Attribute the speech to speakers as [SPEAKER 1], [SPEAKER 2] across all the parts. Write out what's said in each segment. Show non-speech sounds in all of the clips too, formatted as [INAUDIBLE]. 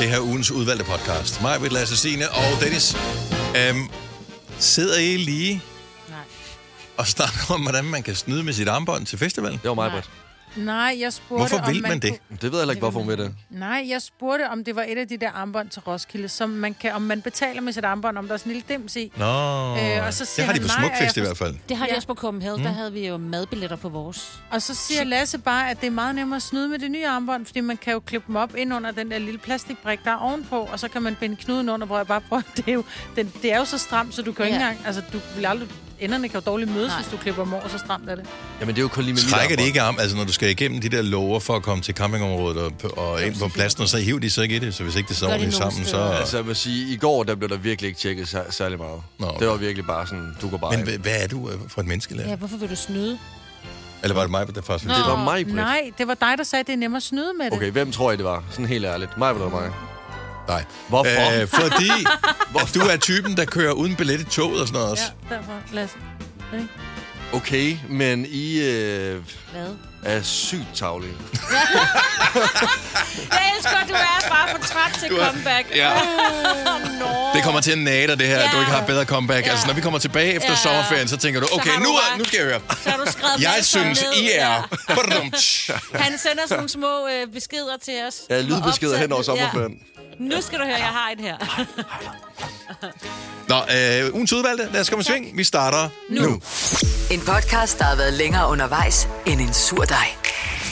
[SPEAKER 1] det her ugens udvalgte podcast. Mig, Britt, Lasse, Signe og Dennis. Øhm, sidder I lige
[SPEAKER 2] Nej.
[SPEAKER 1] og snakker om, hvordan man kan snyde med sit armbånd til festivalen?
[SPEAKER 3] Det var mig, Britt.
[SPEAKER 2] Nej, jeg spurgte,
[SPEAKER 1] Hvorfor
[SPEAKER 2] om
[SPEAKER 1] vil man det?
[SPEAKER 2] Kunne...
[SPEAKER 3] Det ved jeg heller ikke, hvorfor hun ved det.
[SPEAKER 2] Nej, jeg spurgte, om det var et af de der armbånd til Roskilde, som man kan, om man betaler med sit armbånd, om der er sådan en lille dims i.
[SPEAKER 1] Nå,
[SPEAKER 2] Øh, og så
[SPEAKER 1] det
[SPEAKER 2] siger
[SPEAKER 1] har de
[SPEAKER 2] han
[SPEAKER 1] på
[SPEAKER 2] nej, og
[SPEAKER 1] Smukfest i
[SPEAKER 2] jeg
[SPEAKER 1] hvert fald.
[SPEAKER 4] Det har de
[SPEAKER 2] Ja.
[SPEAKER 4] også på Copenhagen. Mm. Der havde vi jo madbilletter på vores.
[SPEAKER 2] Og så siger Lasse bare, at det er meget nemmere at snyde med det nye armbånd, fordi man kan jo klippe dem op ind under den der lille plastikbrik, der er ovenpå, og så kan man binde knuden under, hvor jeg bare prøver, [LAUGHS] det er jo, den, det er jo så stramt, så du kan jo ikke
[SPEAKER 4] Ja.
[SPEAKER 2] engang, altså du vil aldrig, enderne kan jo dårligt mødes,
[SPEAKER 4] Nej.
[SPEAKER 2] hvis du klipper dem over, så stramt er det.
[SPEAKER 3] Jamen, det er jo kun lige med mit
[SPEAKER 1] Trækker de
[SPEAKER 3] armbånd.
[SPEAKER 1] ikke om, altså når du skal igennem de der lover for at komme til campingområdet og, og ind på pladsen, og så hiver de så ikke i det, så hvis ikke det sover
[SPEAKER 4] Gør de
[SPEAKER 1] det
[SPEAKER 4] nogle
[SPEAKER 1] sammen,
[SPEAKER 4] steder.
[SPEAKER 1] så...
[SPEAKER 3] Altså, jeg vil sige, i går, der blev der virkelig ikke tjekket sær- særlig meget.
[SPEAKER 1] Nå, okay.
[SPEAKER 3] Det var virkelig bare sådan, du går bare
[SPEAKER 1] Men
[SPEAKER 3] ind.
[SPEAKER 1] hva- hvad er du øh, for et menneske,
[SPEAKER 4] Ja,
[SPEAKER 1] Lea?
[SPEAKER 4] hvorfor vil du snyde?
[SPEAKER 1] Eller var det mig, der først
[SPEAKER 3] Det var mig, Britt.
[SPEAKER 2] Nej, det var dig, der sagde, at det er nemmere at snyde med det.
[SPEAKER 3] Okay, hvem tror I, det var? Sådan helt ærligt. Mig eller mig?
[SPEAKER 1] Nej.
[SPEAKER 3] Hvorfor?
[SPEAKER 1] Øh, fordi at du er typen, der kører uden billet i toget og sådan noget også.
[SPEAKER 2] Ja, derfor, Lasse.
[SPEAKER 3] Okay, men I øh,
[SPEAKER 4] Hvad?
[SPEAKER 3] er sygt tavlige.
[SPEAKER 5] Jeg elsker, at du er bare for træt til comeback.
[SPEAKER 1] Ja.
[SPEAKER 5] Nå.
[SPEAKER 1] Det kommer til at nade dig, det her, at du
[SPEAKER 5] Ja.
[SPEAKER 1] ikke har et bedre comeback.
[SPEAKER 5] Ja.
[SPEAKER 1] Altså, når vi kommer tilbage efter
[SPEAKER 5] Ja.
[SPEAKER 1] sommerferien, så tænker du, okay,
[SPEAKER 5] har
[SPEAKER 1] nu,
[SPEAKER 5] du
[SPEAKER 1] er,
[SPEAKER 5] ret.
[SPEAKER 1] nu skal jeg høre.
[SPEAKER 5] Så har du skrevet
[SPEAKER 1] Jeg
[SPEAKER 5] masser
[SPEAKER 1] synes,
[SPEAKER 5] ned.
[SPEAKER 1] I
[SPEAKER 5] Ja.
[SPEAKER 1] er... Badum.
[SPEAKER 5] Han sender sådan nogle små øh, beskeder til os.
[SPEAKER 3] Jeg er lydbeskeder
[SPEAKER 5] Opsat-
[SPEAKER 3] hen over sommerferien. Ja.
[SPEAKER 5] Nu skal du høre, jeg har en her.
[SPEAKER 1] Nå, øh, ugens udvalgte. Lad os komme i sving. Vi starter nu. nu.
[SPEAKER 6] En podcast, der har været længere undervejs end en sur dej.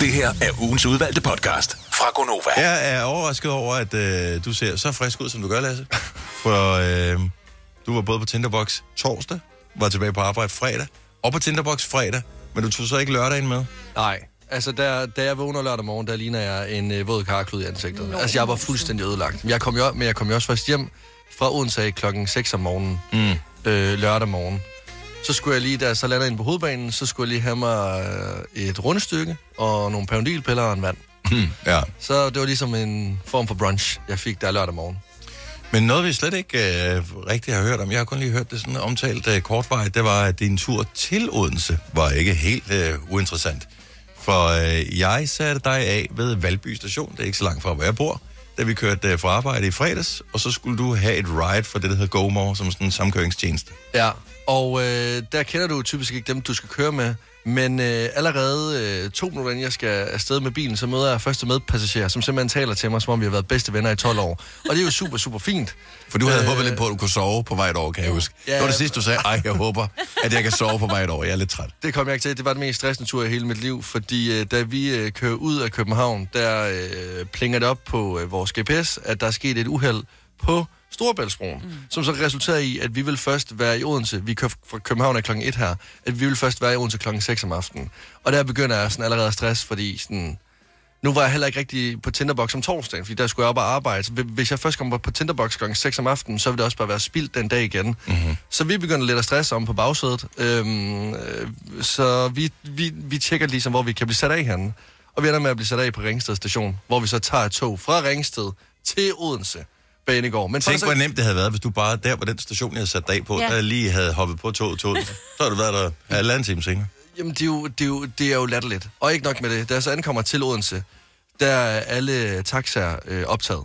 [SPEAKER 7] Det her er ugens udvalgte podcast fra Gonova.
[SPEAKER 1] Jeg er overrasket over, at øh, du ser så frisk ud, som du gør, Lasse. For øh, du var både på Tinderbox torsdag, var tilbage på arbejde fredag, og på Tinderbox fredag, men du tog så ikke lørdagen med.
[SPEAKER 3] Nej, altså der, da jeg vågner lørdag morgen, der ligner jeg en øh, våd karklud i ansigtet. Nå, altså jeg var fuldstændig ødelagt. Jeg kom jo, men jeg kom jo også først hjem fra Odense klokken 6 om morgenen, mm. øh, lørdag morgen. Så skulle jeg lige, da jeg så lander ind på hovedbanen, så skulle jeg lige have mig øh, et rundstykke og nogle pavendilpiller og en vand.
[SPEAKER 1] Hmm, ja.
[SPEAKER 3] Så det var ligesom en form for brunch, jeg fik der lørdag morgen.
[SPEAKER 1] Men noget, vi slet ikke øh, rigtig har hørt om, jeg har kun lige hørt det sådan omtalt øh, kortvarigt, det var, at din tur til Odense var ikke helt øh, uinteressant. For øh, jeg satte dig af ved Valby station, det er ikke så langt fra, hvor jeg bor, da vi kørte øh, fra arbejde i fredags, og så skulle du have et ride for det, der hedder GoMore, som sådan en samkøringstjeneste.
[SPEAKER 3] Ja, og øh, der kender du typisk ikke dem, du skal køre med. Men øh, allerede øh, to minutter inden jeg skal afsted med bilen, så møder jeg første medpassager, som simpelthen taler til mig, som om vi har været bedste venner i 12 år. Og det er jo super, super fint.
[SPEAKER 1] For du havde øh...
[SPEAKER 3] Øh.
[SPEAKER 1] håbet lidt på, at du kunne sove på vej et år, kan jeg huske. Ja.
[SPEAKER 3] Ja.
[SPEAKER 1] Det var det sidste, du sagde, ej, jeg håber, at jeg kan sove på vej et år. Jeg er lidt træt.
[SPEAKER 3] Det kom jeg ikke til. Det var den mest stressende tur i hele mit liv, fordi øh, da vi øh, kører ud af København, der øh, plinger det op på øh, vores GPS, at der er sket et uheld på Storebæltsbroen, mm. som så resulterede i, at vi vil først være i Odense, vi kører fra København er klokken 1 her, at vi vil først være i Odense klokken 6 om aftenen. Og der begynder jeg sådan allerede at stress, fordi sådan, nu var jeg heller ikke rigtig på Tinderbox om torsdagen, fordi der skulle jeg op og arbejde. Så hvi- hvis jeg først kommer på Tinderbox kl. 6 om aftenen, så vil det også bare være spildt den dag igen. Mm-hmm. Så vi begynder lidt at stresse om på bagsædet. Øhm, øh, så vi, vi, vi tjekker ligesom, hvor vi kan blive sat af henne. Og vi ender med at blive sat af på Ringsted station, hvor vi så tager et tog fra Ringsted til Odense Banegård. Men
[SPEAKER 1] Tænk,
[SPEAKER 3] faktisk-
[SPEAKER 1] hvor nemt det havde været, hvis du bare der på den station, jeg havde sat dig på, ja.
[SPEAKER 4] Ja.
[SPEAKER 1] der lige havde hoppet på toget til Odense. Så havde du været der halvanden time senere.
[SPEAKER 3] Jamen, det er, jo, det, er jo, det er jo latterligt. Og ikke nok med det. Da jeg så ankommer til Odense, der er alle taxaer øh, optaget.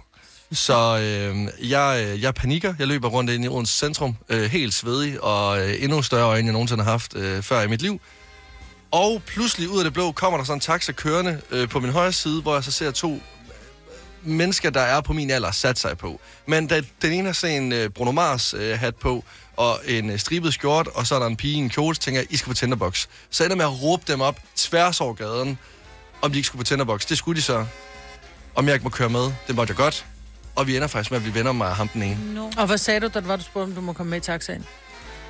[SPEAKER 3] Så øh, jeg, øh, jeg panikker. Jeg løber rundt ind i Odense centrum, øh, helt svedig og øh, endnu større øjne, end jeg nogensinde har haft øh, før i mit liv. Og pludselig ud af det blå kommer der sådan en taxa kørende øh, på min højre side, hvor jeg så ser to mennesker, der er på min alder, sat sig på. Men da, den ene har sådan en øh, Bruno Mars øh, hat på, og en øh, stribet skjort, og så er der en pige i en kjole, så tænker jeg, I skal på Tinderbox. Så ender jeg med at råbe dem op tværs over gaden, om de ikke skulle på Tinderbox. Det skulle de så. Om jeg ikke må køre med, det måtte jeg godt. Og vi ender faktisk med at blive venner med ham den ene.
[SPEAKER 2] Og hvad sagde du, da det var, du spurgte, om du må komme med i taxaen?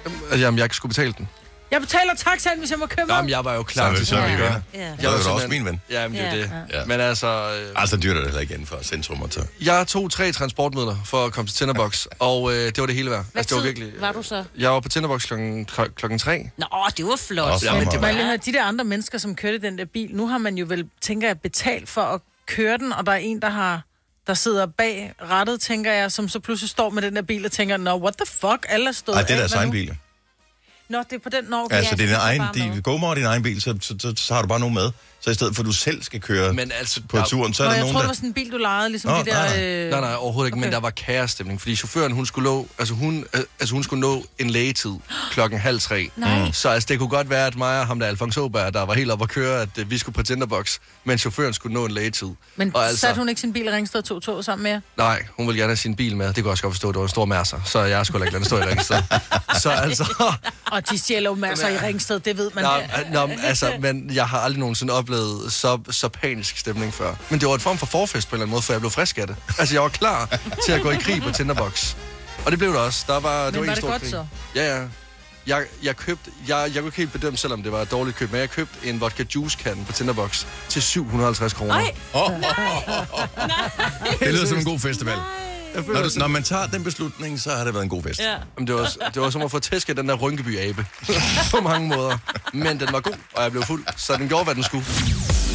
[SPEAKER 3] Altså, jamen, jeg ikke skulle betale den.
[SPEAKER 2] Jeg betaler taxaen, hvis jeg må køre med.
[SPEAKER 3] Jamen, jeg var jo klar
[SPEAKER 1] Så-
[SPEAKER 3] til
[SPEAKER 1] så er vi
[SPEAKER 3] at
[SPEAKER 1] venner.
[SPEAKER 3] gøre.
[SPEAKER 4] Ja.
[SPEAKER 1] Så er du da også
[SPEAKER 3] simpelthen-
[SPEAKER 1] min ven.
[SPEAKER 3] Jamen, det er
[SPEAKER 4] Ja.
[SPEAKER 3] det.
[SPEAKER 1] Ja.
[SPEAKER 3] Men altså... øh,
[SPEAKER 1] Altså, dyrt er det heller ikke inden for centrum at tage.
[SPEAKER 3] Jeg tog tre transportmidler for at komme til Tinderbox, og øh, det var det hele værd.
[SPEAKER 4] Hvad
[SPEAKER 3] Altså, det var
[SPEAKER 4] tid
[SPEAKER 3] virkelig...
[SPEAKER 4] var du så?
[SPEAKER 3] Jeg var på Tinderbox klokken, kl- klokken 3.
[SPEAKER 5] Nå, det var flot.
[SPEAKER 1] Også, ja, men det
[SPEAKER 2] Man lige hører, de der andre mennesker, som kørte den der bil, nu har man jo vel, tænker jeg, betalt for at køre den, og der er en, der har der sidder bag rettet, tænker jeg, som så pludselig står med den der bil og tænker, nå, what the fuck, alle er stået
[SPEAKER 1] Ej, det er
[SPEAKER 2] af,
[SPEAKER 1] deres
[SPEAKER 2] hvad
[SPEAKER 1] egen
[SPEAKER 2] nu?"
[SPEAKER 1] bil.
[SPEAKER 2] Nå, det er på den norge.
[SPEAKER 1] Ja, altså,
[SPEAKER 2] så
[SPEAKER 1] din
[SPEAKER 2] er
[SPEAKER 1] egen,
[SPEAKER 2] bare
[SPEAKER 1] din,
[SPEAKER 2] med.
[SPEAKER 1] go med din egen bil, så, så, så, så, har du bare nogen med. Så i stedet for, at du selv skal køre
[SPEAKER 3] Men altså,
[SPEAKER 1] på
[SPEAKER 3] der-
[SPEAKER 1] turen, så er
[SPEAKER 2] Nå,
[SPEAKER 1] der
[SPEAKER 2] jeg
[SPEAKER 1] nogen,
[SPEAKER 2] tror,
[SPEAKER 1] der...
[SPEAKER 2] det var sådan en bil, du lejede, ligesom
[SPEAKER 1] Nå,
[SPEAKER 2] det der...
[SPEAKER 1] nej,
[SPEAKER 2] Øh...
[SPEAKER 3] Nej, nej, overhovedet ikke, okay. men
[SPEAKER 2] okay.
[SPEAKER 3] der var kærestemning, fordi chaufføren, hun skulle, nå, altså hun, øh, altså hun skulle nå en lægetid klokken halv tre.
[SPEAKER 2] [GASPS]
[SPEAKER 4] Nej.
[SPEAKER 3] Så altså, det kunne godt være, at mig og ham der, Alfons Åberg, der var helt oppe at køre, at øh, vi skulle på Tinderbox, men chaufføren skulle nå en lægetid.
[SPEAKER 2] Men
[SPEAKER 3] og
[SPEAKER 2] altså... satte hun ikke sin bil i Ringsted og tog tog sammen med jer?
[SPEAKER 3] Nej, hun ville gerne have sin bil med. Det kunne jeg også godt forstå, det var en stor mærser, så jeg skulle ikke lade den stå i Ringsted.
[SPEAKER 2] [LAUGHS]
[SPEAKER 3] så altså,
[SPEAKER 2] [LAUGHS] Og de stjæler jo masser i Ringsted, det ved man.
[SPEAKER 3] Nå,
[SPEAKER 2] Ja.
[SPEAKER 3] øh, nå, men
[SPEAKER 2] [LAUGHS]
[SPEAKER 3] altså, men jeg har aldrig nogensinde oplevet så, så panisk stemning før. Men det var en form for forfest på en eller anden måde, for jeg blev frisk af det. [LAUGHS] Altså, jeg var klar til at gå i krig på Tinderbox. Og det blev det også. Der var, det
[SPEAKER 2] Men var
[SPEAKER 3] var, en
[SPEAKER 2] det
[SPEAKER 3] stor
[SPEAKER 2] godt
[SPEAKER 3] krig.
[SPEAKER 2] så?
[SPEAKER 3] Ja, ja. Jeg, jeg købte, jeg, jeg kunne ikke helt bedømme, selvom det var et dårligt køb, men jeg købte en vodka juice kan på Tinderbox til 750 kroner.
[SPEAKER 5] Ej,
[SPEAKER 1] Åh, åh, åh, åh. Det lyder som en god festival.
[SPEAKER 3] Jeg føler,
[SPEAKER 1] Når, du,
[SPEAKER 3] det,
[SPEAKER 1] når man tager den beslutning, så har det været en god fest.
[SPEAKER 5] ja.
[SPEAKER 3] Jamen, det, var, det var som at få tæsk af den der Rynkeby-abe. [LAUGHS] på mange måder. Men den var god, og jeg blev fuld, så den gjorde, hvad den skulle.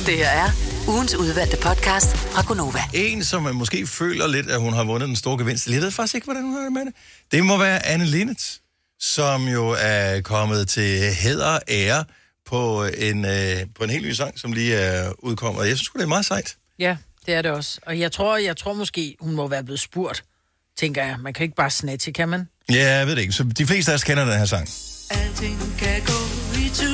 [SPEAKER 6] Det her er ugens udvalgte podcast fra Gonova.
[SPEAKER 1] En, som øh, måske føler lidt, at hun har vundet den store gevinst. Jeg ved faktisk ikke, hvordan hun har det med det. Det må være Anne Linnet, som jo er kommet til hæder og ære på en, øh, på en helt ny sang, som lige er udkommet. Og jeg synes sgu, det er meget sejt.
[SPEAKER 2] ja, det er det også. Og jeg tror, jeg tror måske, hun må være blevet spurgt, tænker jeg. Man kan ikke bare snatche, kan man?
[SPEAKER 1] Ja, jeg ved det ikke. Så de fleste af os kender den her sang.
[SPEAKER 8] Alting kan gå i tu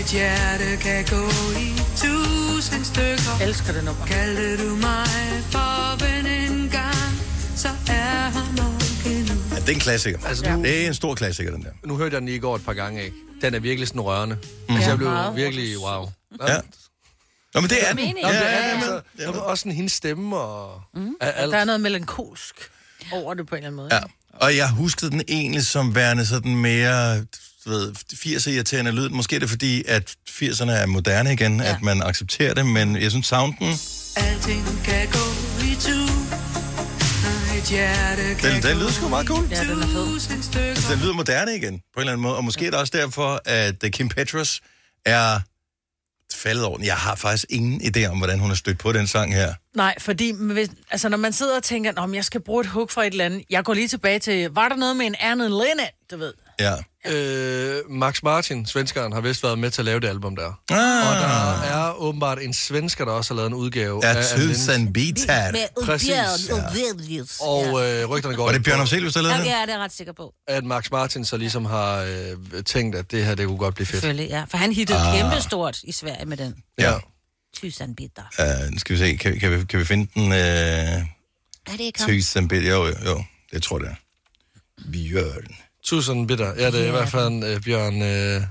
[SPEAKER 8] Et hjerte kan gå i tusind stykker
[SPEAKER 2] Elsker det nummer.
[SPEAKER 8] Kaldte du mig for ven en gang Så er her nok endnu
[SPEAKER 1] Ja, det er en klassiker.
[SPEAKER 3] Altså, nu-
[SPEAKER 1] Det er en stor klassiker, den der.
[SPEAKER 3] nu hørte jeg den lige i går et par gange, ikke? Den er virkelig sådan rørende. Mm. Altså, jeg blev
[SPEAKER 2] meget.
[SPEAKER 3] virkelig, wow.
[SPEAKER 1] Ja. Nå, men det er den.
[SPEAKER 3] Ja,
[SPEAKER 1] Ja, ja,
[SPEAKER 3] det er
[SPEAKER 1] ja.
[SPEAKER 3] altså, ja, men også sådan hendes stemme og mm. alt.
[SPEAKER 2] Der er noget melankolsk over det på en eller anden måde.
[SPEAKER 1] Ja. Og jeg huskede den egentlig som værende sådan mere du ved, 80'er irriterende lyd. Måske er det fordi, at 80'erne er moderne igen, ja. at man accepterer det, men jeg synes sounden,
[SPEAKER 8] Alting kan gå i tu Et hjerte kan
[SPEAKER 1] den, den lyder sgu meget cool.
[SPEAKER 2] Ja, den er fed.
[SPEAKER 8] tusind stykker
[SPEAKER 1] Altså, Den lyder moderne igen, på en eller anden måde. Og måske er det også derfor, at øh, Kim Petras er faldet over den. Jeg har faktisk ingen idé om, hvordan hun har stødt på den sang her.
[SPEAKER 2] Nej, fordi hvis, altså, når man sidder og tænker, Nå, men jeg skal bruge et hug fra et eller andet. Jeg går lige tilbage til, var der noget med en Anne Linnet, du ved?
[SPEAKER 1] Ja.
[SPEAKER 3] Øh, Max Martin, svenskeren, har vist været med til at lave det album der.
[SPEAKER 1] Ah,
[SPEAKER 3] Og der er åbenbart en svensker, der også har lavet en udgave
[SPEAKER 1] er
[SPEAKER 3] Anne Lindes.
[SPEAKER 1] tusind bitar.
[SPEAKER 5] Med
[SPEAKER 3] Præcis.
[SPEAKER 5] Bjørn Ulvelius. Ja.
[SPEAKER 3] Og øh, rygterne går
[SPEAKER 1] Var det
[SPEAKER 3] lidt
[SPEAKER 1] Bjørn
[SPEAKER 3] på,
[SPEAKER 1] Afselius, der lavede
[SPEAKER 5] Ja,
[SPEAKER 1] den?
[SPEAKER 5] jeg er det ret sikker på.
[SPEAKER 3] at Max Martin så ligesom har øh, tænkt, at det her, det kunne godt blive fedt.
[SPEAKER 5] Selvfølgelig, ja. For han hittede ah. kæmpestort i Sverige med den.
[SPEAKER 1] Ja.
[SPEAKER 5] Tysan bitter.
[SPEAKER 1] Uh, nu skal vi se, kan, kan, vi, kan vi finde den? Uh...
[SPEAKER 5] Er det ikke ham?
[SPEAKER 1] Tusind bit, jo, jo, jo, det tror jeg, det er. Bjørn.
[SPEAKER 3] Tusind bitter. Ja, det er i hvert fald en, øh, Bjørn... Øh, ja, det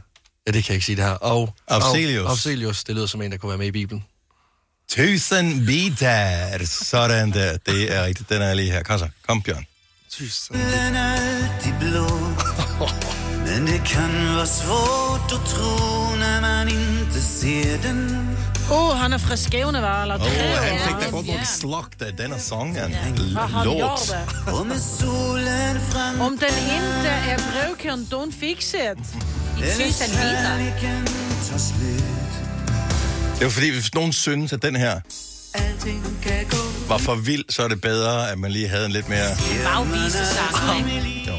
[SPEAKER 3] kan jeg ikke sige det her. Og
[SPEAKER 1] Afzelius.
[SPEAKER 3] Og, Afzelius, det lyder som en, der kunne være med i Bibelen.
[SPEAKER 1] Tusind bitter. Sådan der. Det er rigtigt. Den er lige her. Kom så. Kom, Bjørn.
[SPEAKER 3] Tusind.
[SPEAKER 9] himlen alltid blå Men det kan vara svårt att tro när man inte ser den
[SPEAKER 2] Åh, oh, han er fra skævne, var eller?
[SPEAKER 1] Åh, oh, han fik da godt nok slogt af denne sang. Han
[SPEAKER 2] Hvad har du gjort
[SPEAKER 1] lort.
[SPEAKER 2] da?
[SPEAKER 9] Och med solen fram
[SPEAKER 2] Om den inte er brevkön, don't fix it.
[SPEAKER 5] Tysan bitter.
[SPEAKER 9] kärleken tar slut
[SPEAKER 1] Det var fordi, hvis nogen synes, at den her
[SPEAKER 8] Alting kan gå
[SPEAKER 1] var for vild, så er det bedre, at man lige havde en lidt mere...
[SPEAKER 5] Bagvise sang, ikke?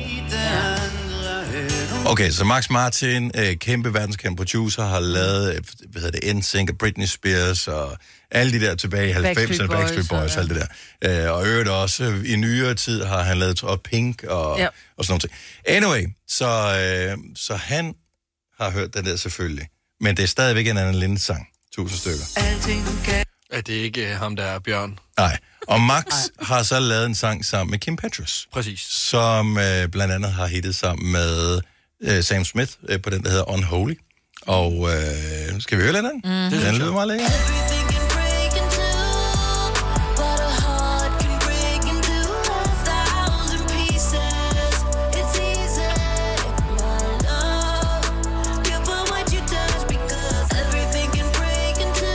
[SPEAKER 1] Okay, så Max Martin, øh, kæmpe verdenskendt producer, har lavet, øh, hvad hedder det, NSYNC og Britney Spears og alle de der tilbage i 90'erne,
[SPEAKER 2] Backstreet
[SPEAKER 1] Backstreet
[SPEAKER 2] Boys og-
[SPEAKER 1] Boys, og alt det der. Øh, og i øvrigt også øh, i nyere tid har han lavet og Pink og, ja.
[SPEAKER 2] Ja.
[SPEAKER 1] og sådan noget. Anyway, så, øh, så han har hørt den der selvfølgelig. Men det er stadigvæk en anden lille sang. Tusind stykker.
[SPEAKER 8] Alting kan
[SPEAKER 3] Ja, det er ikke øh, ham, der er Bjørn.
[SPEAKER 1] Nej. Og Max har så lavet en sang sammen med Kim Petras.
[SPEAKER 3] Præcis.
[SPEAKER 1] som øh, blandt andet har hittet sammen med øh, Sam Smith øh, på den, der hedder Unholy. Og øh, skal vi høre lidt af den?
[SPEAKER 2] Mhm.
[SPEAKER 1] Mm. Den lyder meget lækker.
[SPEAKER 10] Everything can break into, but a heart can break into a thousand pieces. It's easy, my love. Give up what you touch because everything can break into,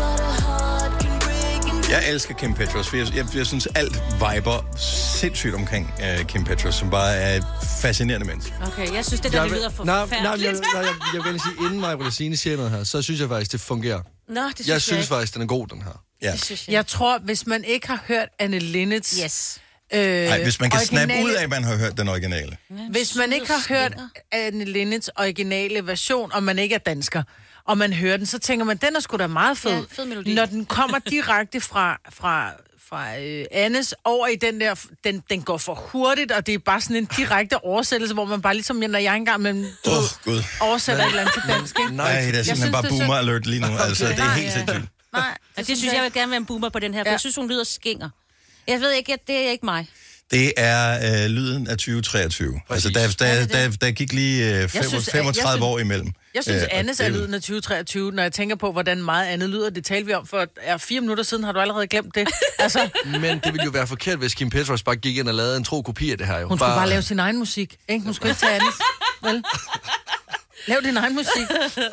[SPEAKER 10] but a heart can break into.
[SPEAKER 1] Jeg elsker Kim Petras, for jeg, jeg, jeg synes alt viber sindssygt omkring øh, Kim Petras, som bare er et fascinerende menneske.
[SPEAKER 5] Okay, jeg synes, det der det lyder
[SPEAKER 3] nej, nej, nej, jeg,
[SPEAKER 5] forfærdeligt.
[SPEAKER 3] nej, jeg, jeg vil gerne sige, inden mig Brillesine siger noget her, så synes jeg faktisk, det fungerer.
[SPEAKER 5] Nå, det synes
[SPEAKER 3] Jeg
[SPEAKER 5] jeg,
[SPEAKER 3] synes
[SPEAKER 5] ikke.
[SPEAKER 3] faktisk, den er god, den her.
[SPEAKER 1] Ja.
[SPEAKER 5] Det synes jeg.
[SPEAKER 2] Jeg tror, hvis man ikke har hørt Anne Linnets
[SPEAKER 5] Yes.
[SPEAKER 2] Øh,
[SPEAKER 1] Nej, hvis man kan snappe
[SPEAKER 2] originale-
[SPEAKER 1] ud af, at man har hørt den originale.
[SPEAKER 2] Hvis man ikke har hørt Anne Linnets originale version, og man ikke er dansker, og man hører den, så tænker man, den er sgu da meget fed.
[SPEAKER 4] Ja, fed melodi.
[SPEAKER 2] Når den kommer direkte fra, fra, fra øh, Annes over i den der, den, den går for hurtigt, og det er bare sådan en direkte oversættelse, hvor man bare ligesom, når jeg engang mellem, du oh,
[SPEAKER 1] Gud.
[SPEAKER 2] oversætter et eller andet til dansk. ikke?
[SPEAKER 1] Nej, det er simpelthen
[SPEAKER 2] synes,
[SPEAKER 1] bare
[SPEAKER 2] det er
[SPEAKER 1] boomer
[SPEAKER 2] synd.
[SPEAKER 1] alert lige nu. Altså, det er helt sindssygt.
[SPEAKER 2] Nej,
[SPEAKER 4] Og det synes jeg, jeg vil gerne være en boomer på den her, for ja. jeg synes, hun lyder skinger. Jeg ved ikke, at det er ikke mig.
[SPEAKER 1] Det er øh, lyden af 2023. Altså, der, der, der, der gik lige øh, fem,
[SPEAKER 2] synes, at-
[SPEAKER 1] 35
[SPEAKER 2] jeg synes-
[SPEAKER 1] år imellem.
[SPEAKER 2] Jeg synes,
[SPEAKER 1] Øh,
[SPEAKER 2] øh,
[SPEAKER 1] og
[SPEAKER 2] Annes
[SPEAKER 1] det
[SPEAKER 2] er lyden af 2023, når jeg tænker på, hvordan meget andet lyder. Det talte vi om for er fire minutter siden. Har du allerede glemt det? Altså,
[SPEAKER 3] Men det ville jo være forkert, hvis Kim Petras bare gik ind og lavede en tro kopi af det her. Jo.
[SPEAKER 2] hun skulle bare lave sin egen musik. Ikke? Hun skulle ikke tage Annes. Vel? Lav din egen musik.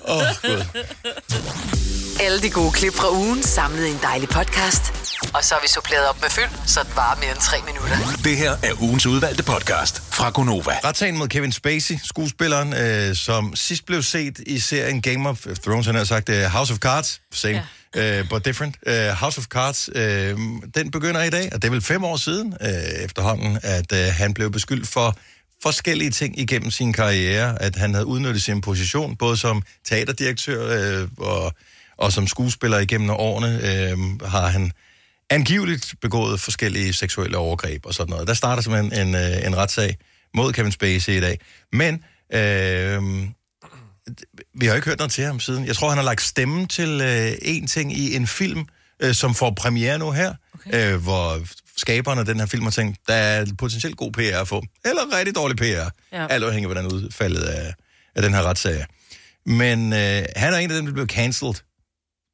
[SPEAKER 1] Åh, oh, Gud.
[SPEAKER 6] Alle de gode klip fra ugen samlet i en dejlig podcast. Og så har vi suppleret op med fyld, så det varer mere end tre minutter.
[SPEAKER 7] Det her er ugens udvalgte podcast fra Gonova.
[SPEAKER 1] Retssagen mod Kevin Spacey, skuespilleren, øh, som sidst blev set i serien Game of Thrones, han har sagt øh, House of Cards, same, ja. øh, but different. Øh, House of Cards, øh, den begynder i dag, og det er vel fem år siden øh, efterhånden, at øh, han blev beskyldt for forskellige ting igennem sin karriere, at han havde udnyttet sin position, både som teaterdirektør øh, og, og som skuespiller igennem årene, øh, har han angiveligt begået forskellige seksuelle overgreb og sådan noget. Der starter simpelthen en, øh, en retssag mod Kevin Spacey i dag. Men øh, vi har ikke hørt noget til ham siden. Jeg tror, han har lagt stemme til øh, en ting i en film, øh, som får premiere nu her, okay. øh, hvor skaberne af den her film har tænkt, der er potentielt god PR at få, eller rigtig dårlig PR, ja. alt afhængig af, hvordan udfaldet af, af den her retssag er. Men øh, han er en af dem, der blev cancelled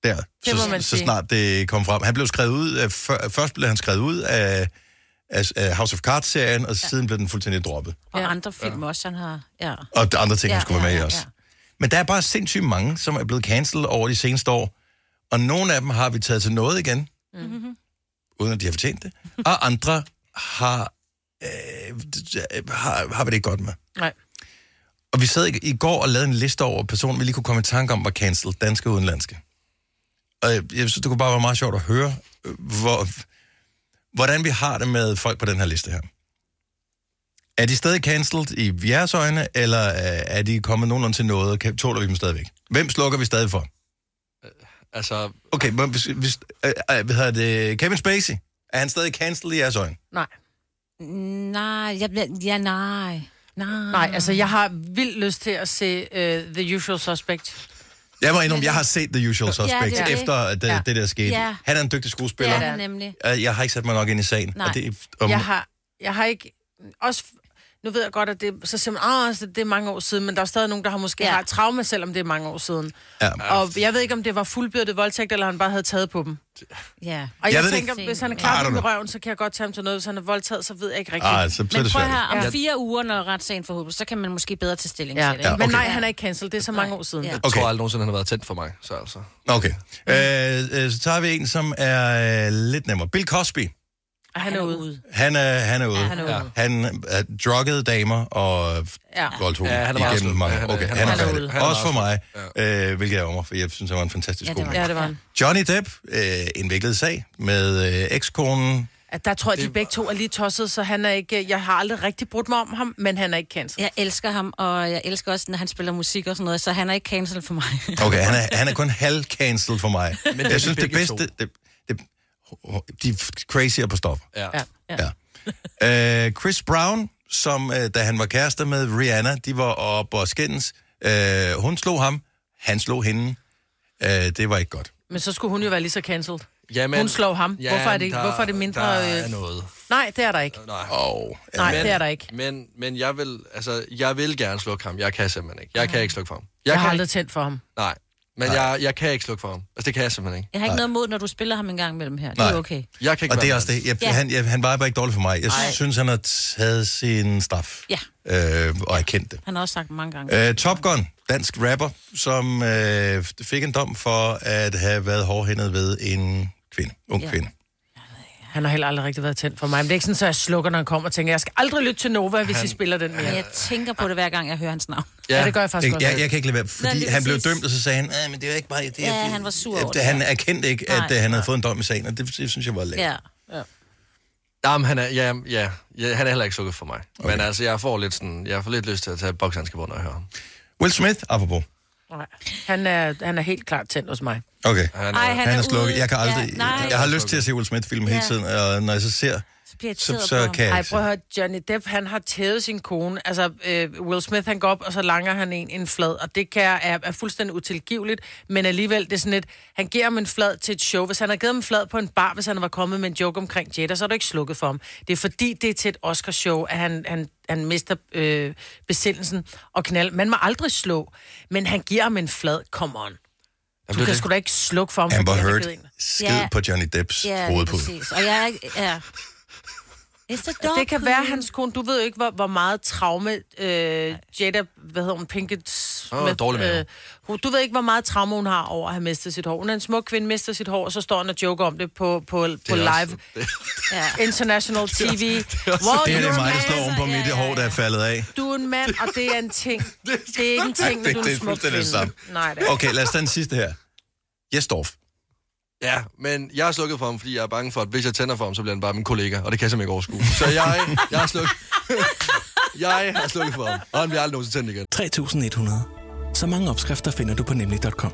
[SPEAKER 1] der,
[SPEAKER 2] Det må
[SPEAKER 1] så,
[SPEAKER 2] man
[SPEAKER 1] så
[SPEAKER 2] sige.
[SPEAKER 1] snart det kom frem. Han blev skrevet ud af, før, først blev han skrevet ud af, af, af House of Cards-serien, og ja. siden blev den fuldstændig droppet.
[SPEAKER 4] Og ja. andre film ja. også, han har... Ja.
[SPEAKER 1] Og der er andre ting, ja,
[SPEAKER 4] Ja,
[SPEAKER 1] han skulle være
[SPEAKER 4] ja,
[SPEAKER 1] med i
[SPEAKER 4] ja,
[SPEAKER 1] også.
[SPEAKER 4] ja.
[SPEAKER 1] Men der er bare sindssygt mange, som er blevet cancelled over de seneste år. Og nogle af dem har vi taget til noget igen, mm-hmm. uden at de har fortjent det. Og andre har, øh, d- har, har vi det ikke godt med.
[SPEAKER 2] Nej.
[SPEAKER 1] Og vi sad i, i går og lavede en liste over personer, vi lige kunne komme i tanke om var cancelled, danske og udenlandske. Og jeg, jeg synes, det kunne bare være meget sjovt at høre, øh, hvor, hvordan vi har det med folk på den her liste her. Er de stadig cancelled i jeres øjne, eller øh, er de kommet nogenlunde til noget? Kan, tåler vi dem stadigvæk? Hvem slukker vi stadig for?
[SPEAKER 3] Altså,
[SPEAKER 1] Okay, men hvis, hvis, øh, øh, hvad hedder det? Kevin Spacey, er han stadig cancelled i jeres øjne?
[SPEAKER 2] Nej.
[SPEAKER 4] Nej, jeg, bliver- ja, nej. Nej.
[SPEAKER 2] Nej, altså jeg har vildt lyst til at se uh, The Usual Suspect.
[SPEAKER 1] Jeg må indrømme, jeg har set The Usual
[SPEAKER 4] det er
[SPEAKER 1] Suspect, ja, det
[SPEAKER 4] det.
[SPEAKER 1] efter at det, ja.
[SPEAKER 2] Ja.
[SPEAKER 1] det der skete. Ja.
[SPEAKER 4] Ja.
[SPEAKER 1] Han er en dygtig skuespiller.
[SPEAKER 4] Ja, det er nemlig.
[SPEAKER 1] Øh, Jeg har ikke sat mig nok ind i sagen.
[SPEAKER 4] Nej.
[SPEAKER 1] Og det, om,
[SPEAKER 2] Jeg har, jeg har ikke... Også, nu ved jeg godt, at det, så siger man, "Ah, altså, det er mange år siden, men der er stadig nogen, der har måske ja.
[SPEAKER 4] Ja.
[SPEAKER 2] har et traume, selvom det er mange år siden.
[SPEAKER 1] ja.
[SPEAKER 2] Og jeg ved ikke, om det var fuldbyrdet voldtægt, eller han bare havde taget på dem.
[SPEAKER 4] Ja.
[SPEAKER 2] Og jeg,
[SPEAKER 1] Jeg
[SPEAKER 2] jeg
[SPEAKER 1] ved det
[SPEAKER 2] tænker,
[SPEAKER 4] ikke.
[SPEAKER 2] hvis han er
[SPEAKER 1] I don't
[SPEAKER 2] klar med
[SPEAKER 1] know.
[SPEAKER 2] røven, så kan jeg godt tage ham til noget. Hvis han er voldtaget, så ved jeg ikke rigtigt.
[SPEAKER 1] Ah, så, så er
[SPEAKER 4] Men
[SPEAKER 1] det
[SPEAKER 4] prøv
[SPEAKER 1] svært.
[SPEAKER 4] her, om
[SPEAKER 2] Ja.
[SPEAKER 4] fire uger, når retssagen forhåbentlig, så kan man måske bedre tage stilling
[SPEAKER 2] Ja.
[SPEAKER 4] til det.
[SPEAKER 2] Ja, okay.
[SPEAKER 4] ikke?
[SPEAKER 2] Men nej, han er ikke cancelled. Det er så mange år siden. Ja.
[SPEAKER 4] Ja.
[SPEAKER 3] jeg
[SPEAKER 1] Okay.
[SPEAKER 3] tror aldrig nogensinde, han har været tændt for mig. Så altså.
[SPEAKER 1] Okay. Øh, øh, så tager vi en, som er øh, lidt nemmere. Bill Cosby.
[SPEAKER 2] Og han er ude.
[SPEAKER 1] Han er, han er ude.
[SPEAKER 2] han er ude.
[SPEAKER 1] Han er druggede damer og
[SPEAKER 2] Ja.
[SPEAKER 1] voldtog
[SPEAKER 3] Ja, han er meget
[SPEAKER 1] igennem
[SPEAKER 3] sød.
[SPEAKER 1] mange
[SPEAKER 3] Ja, han er-
[SPEAKER 1] Okay,
[SPEAKER 3] han
[SPEAKER 1] han
[SPEAKER 3] er
[SPEAKER 1] er,
[SPEAKER 3] meget
[SPEAKER 1] færdig.
[SPEAKER 3] sød. Han er
[SPEAKER 1] Også for mig,
[SPEAKER 3] meget
[SPEAKER 1] øh, hvilket jeg er over, for jeg synes, han var en fantastisk
[SPEAKER 4] Ja,
[SPEAKER 1] ja,
[SPEAKER 4] det var
[SPEAKER 1] komiker.
[SPEAKER 2] Ja, det var han.
[SPEAKER 1] Johnny Depp, øh, indviklet sag med øh, ekskonen.
[SPEAKER 2] At der tror jeg, de begge to er lige tosset, så han er ikke... Jeg har aldrig rigtig brudt mig om ham, men han er ikke cancelled.
[SPEAKER 4] Jeg elsker ham, og jeg elsker også, når han spiller musik og sådan noget, så han er ikke cancel for mig.
[SPEAKER 1] Okay, han er, han er kun halv-cancelled for mig. Men
[SPEAKER 3] det er
[SPEAKER 1] jeg
[SPEAKER 3] de
[SPEAKER 1] synes, det
[SPEAKER 3] begge
[SPEAKER 1] bedste... Det, det, de er crazier på stoffer.
[SPEAKER 3] Ja.
[SPEAKER 2] Ja.
[SPEAKER 1] Ja. Øh, Chris Brown, som øh, da han var kærester med Rihanna, de var oppe og skændes. Øh, hun slog ham, han slog hende. Øh, det var ikke godt.
[SPEAKER 2] Men så skulle hun jo være lige så cancelled.
[SPEAKER 3] Jamen,
[SPEAKER 2] Hun slår ham. Hvorfor er det-
[SPEAKER 3] der-
[SPEAKER 2] hvorfor er det mindre,
[SPEAKER 3] Der er
[SPEAKER 2] øh,
[SPEAKER 3] noget.
[SPEAKER 2] Nej, det er der ikke.
[SPEAKER 3] Nej.
[SPEAKER 1] Og, øh,
[SPEAKER 2] Nej, det er der ikke.
[SPEAKER 3] Men, men jeg, vil, altså, jeg vil gerne slukke ham. Jeg kan simpelthen ikke. Jeg kan ikke slukke for ham.
[SPEAKER 2] Jeg har
[SPEAKER 3] kan
[SPEAKER 2] aldrig tændt for ham.
[SPEAKER 3] Ikke, nej, men jeg, jeg kan ikke slukke for ham. Altså, det kan jeg simpelthen ikke.
[SPEAKER 4] Jeg har ikke noget mod, når du spiller ham en gang imellem her. Det
[SPEAKER 1] Nej.
[SPEAKER 4] er okay.
[SPEAKER 3] Jeg kan ikke
[SPEAKER 1] og det er
[SPEAKER 3] være
[SPEAKER 1] også
[SPEAKER 3] med.
[SPEAKER 1] det. Jeg, ja.
[SPEAKER 4] Ja.
[SPEAKER 1] han, jeg, han var bare ikke dårlig for mig. Jeg Ej. synes, han har taget sin straf.
[SPEAKER 4] Ja.
[SPEAKER 1] Øh, og jeg kendte det.
[SPEAKER 4] Han har også sagt mange gange.
[SPEAKER 1] Øh, Top Gun, dansk rapper, som øh, fik en dom for at have været hårdhændet ved en kvinde, ung ja.
[SPEAKER 4] Ja.
[SPEAKER 1] kvinde.
[SPEAKER 2] Han har heller aldrig rigtig været tændt for mig. Men det er ikke sådan, at jeg slukker, når han kommer og tænker, jeg skal aldrig lytte til Nova, hvis han... I spiller den mere.
[SPEAKER 4] Men
[SPEAKER 2] Ja.
[SPEAKER 4] jeg tænker på det, hver gang jeg hører hans navn.
[SPEAKER 2] ja, det gør jeg faktisk
[SPEAKER 1] Jeg,
[SPEAKER 2] også.
[SPEAKER 1] jeg, jeg kan ikke lade være, fordi
[SPEAKER 4] Nej, lige
[SPEAKER 1] han blev
[SPEAKER 4] præcis.
[SPEAKER 1] dømt, og så sagde han, "Ah, men det var ikke bare... Det, er-
[SPEAKER 4] Ja, han var sur over
[SPEAKER 1] Øh,
[SPEAKER 4] det,
[SPEAKER 1] Han
[SPEAKER 4] ja."
[SPEAKER 1] erkendte ikke, at
[SPEAKER 4] Nej.
[SPEAKER 1] øh, han havde fået en dom i sagen, og det, det synes jeg var lækkert.
[SPEAKER 4] Ja.
[SPEAKER 3] Nej, men han er, ja, ja, ja, han er heller ikke sukket for mig. Okay. Men altså, jeg får lidt sådan, jeg får lidt lyst til at tage bokshandsker på, når jeg hører ham.
[SPEAKER 1] Will Smith, apropos.
[SPEAKER 2] Nej. Han er, han er helt klart tændt hos mig.
[SPEAKER 1] Okay.
[SPEAKER 2] Han er- Ej, han er
[SPEAKER 1] slukket.
[SPEAKER 2] ude.
[SPEAKER 1] Jeg, kan
[SPEAKER 2] Ja,
[SPEAKER 1] aldrig,
[SPEAKER 2] nej.
[SPEAKER 1] jeg har lyst til at se Will Smith-film hele
[SPEAKER 2] Ja.
[SPEAKER 1] tiden, og når jeg så ser, så, så kan jeg
[SPEAKER 2] Ej,
[SPEAKER 1] ikke se.
[SPEAKER 2] prøv at høre, Johnny Depp, han har tævet sin kone. Altså, øh, Will Smith, han går op, og så langer han en en flad, og det kan, er, er fuldstændig utilgiveligt, men alligevel, det er sådan et, han giver ham en flad til et show. Hvis han havde givet ham en flad på en bar, hvis han var kommet med en joke omkring Jada, så er du ikke slukket for ham. Det er fordi, det er til et Oscar-show, at han, han, han mister øh, besindelsen og knald. Man må aldrig slå, men han giver ham en flad. Come on. Du
[SPEAKER 1] det
[SPEAKER 2] kan
[SPEAKER 1] det.
[SPEAKER 2] sgu da ikke slukke for ham.
[SPEAKER 1] Amber
[SPEAKER 2] fordi han har
[SPEAKER 1] Heard
[SPEAKER 2] givet en.
[SPEAKER 1] skid ja. på Johnny Depps ja, hovedpude.
[SPEAKER 4] præcis. Og jeg er ikke... Ja. It's a dog
[SPEAKER 2] Det kan
[SPEAKER 4] pool.
[SPEAKER 2] være hans kone. Du ved jo ikke, hvor, hvor meget traume øh, Jada, hvad hedder hun, Pinkett
[SPEAKER 3] Åh,
[SPEAKER 2] Smith,
[SPEAKER 3] dårlig mave.
[SPEAKER 2] hun- du ved ikke, hvor meget traume hun har over at have mistet sit hår. Hun er en smuk kvinde, mister sit hår, og så står hun og joker om det på, på, på
[SPEAKER 1] også-
[SPEAKER 2] live. ja. International TV. Det er,
[SPEAKER 1] det her det er mig, der står oven på mit hår, der er faldet af.
[SPEAKER 2] Du er en mand, og det er en
[SPEAKER 1] [LAUGHS]
[SPEAKER 2] ting. Det er ikke en
[SPEAKER 1] Ej,
[SPEAKER 2] ting, men
[SPEAKER 1] det-
[SPEAKER 2] du er
[SPEAKER 1] det er
[SPEAKER 2] en smuk
[SPEAKER 1] fuldstændig
[SPEAKER 2] kvinde.
[SPEAKER 1] det samme.
[SPEAKER 2] Nej, det er.
[SPEAKER 1] Okay, lad os tage den sidste her. Jesdorf.
[SPEAKER 3] [LAUGHS] Ja, men jeg er slukket for ham, fordi jeg er bange for, at hvis jeg tænder for ham, så bliver han bare min kollega, og det kan jeg simpelthen ikke overskue. Så jeg, jeg er slukket. [LAUGHS] jeg har slukket for ham, og han bliver aldrig nogensinde tændt igen.
[SPEAKER 11] 3100. Så mange opskrifter finder du på nemlig.com.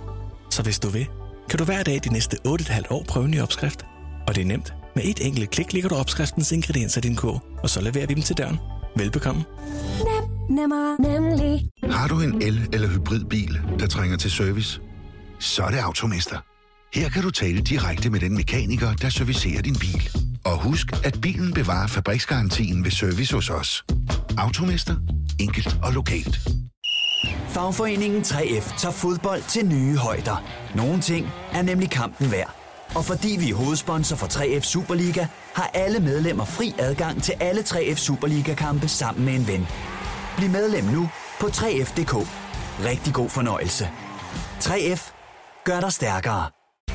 [SPEAKER 11] Så hvis du vil, kan du hver dag de næste 8,5 år prøve en ny opskrift. Og det er nemt. Med et enkelt klik ligger du opskriftens ingredienser i din kog, og så leverer vi dem til døren. Velbekomme.
[SPEAKER 12] Nemmer, nemlig.
[SPEAKER 13] Har du en el- eller hybridbil, der trænger til service? Så er det Automester. Her kan du tale direkte med den mekaniker, der servicerer din bil. Og husk, at bilen bevarer fabriksgarantien ved service hos os. Automester. Enkelt og lokalt.
[SPEAKER 14] Fagforeningen 3F tager fodbold til nye højder. Nogle ting er nemlig kampen værd. Og fordi vi er hovedsponsor for 3F Superliga, har alle medlemmer fri adgang til alle 3F Superliga-kampe sammen med en ven. Bliv medlem nu på 3F.dk. Rigtig god fornøjelse. 3F gør dig stærkere.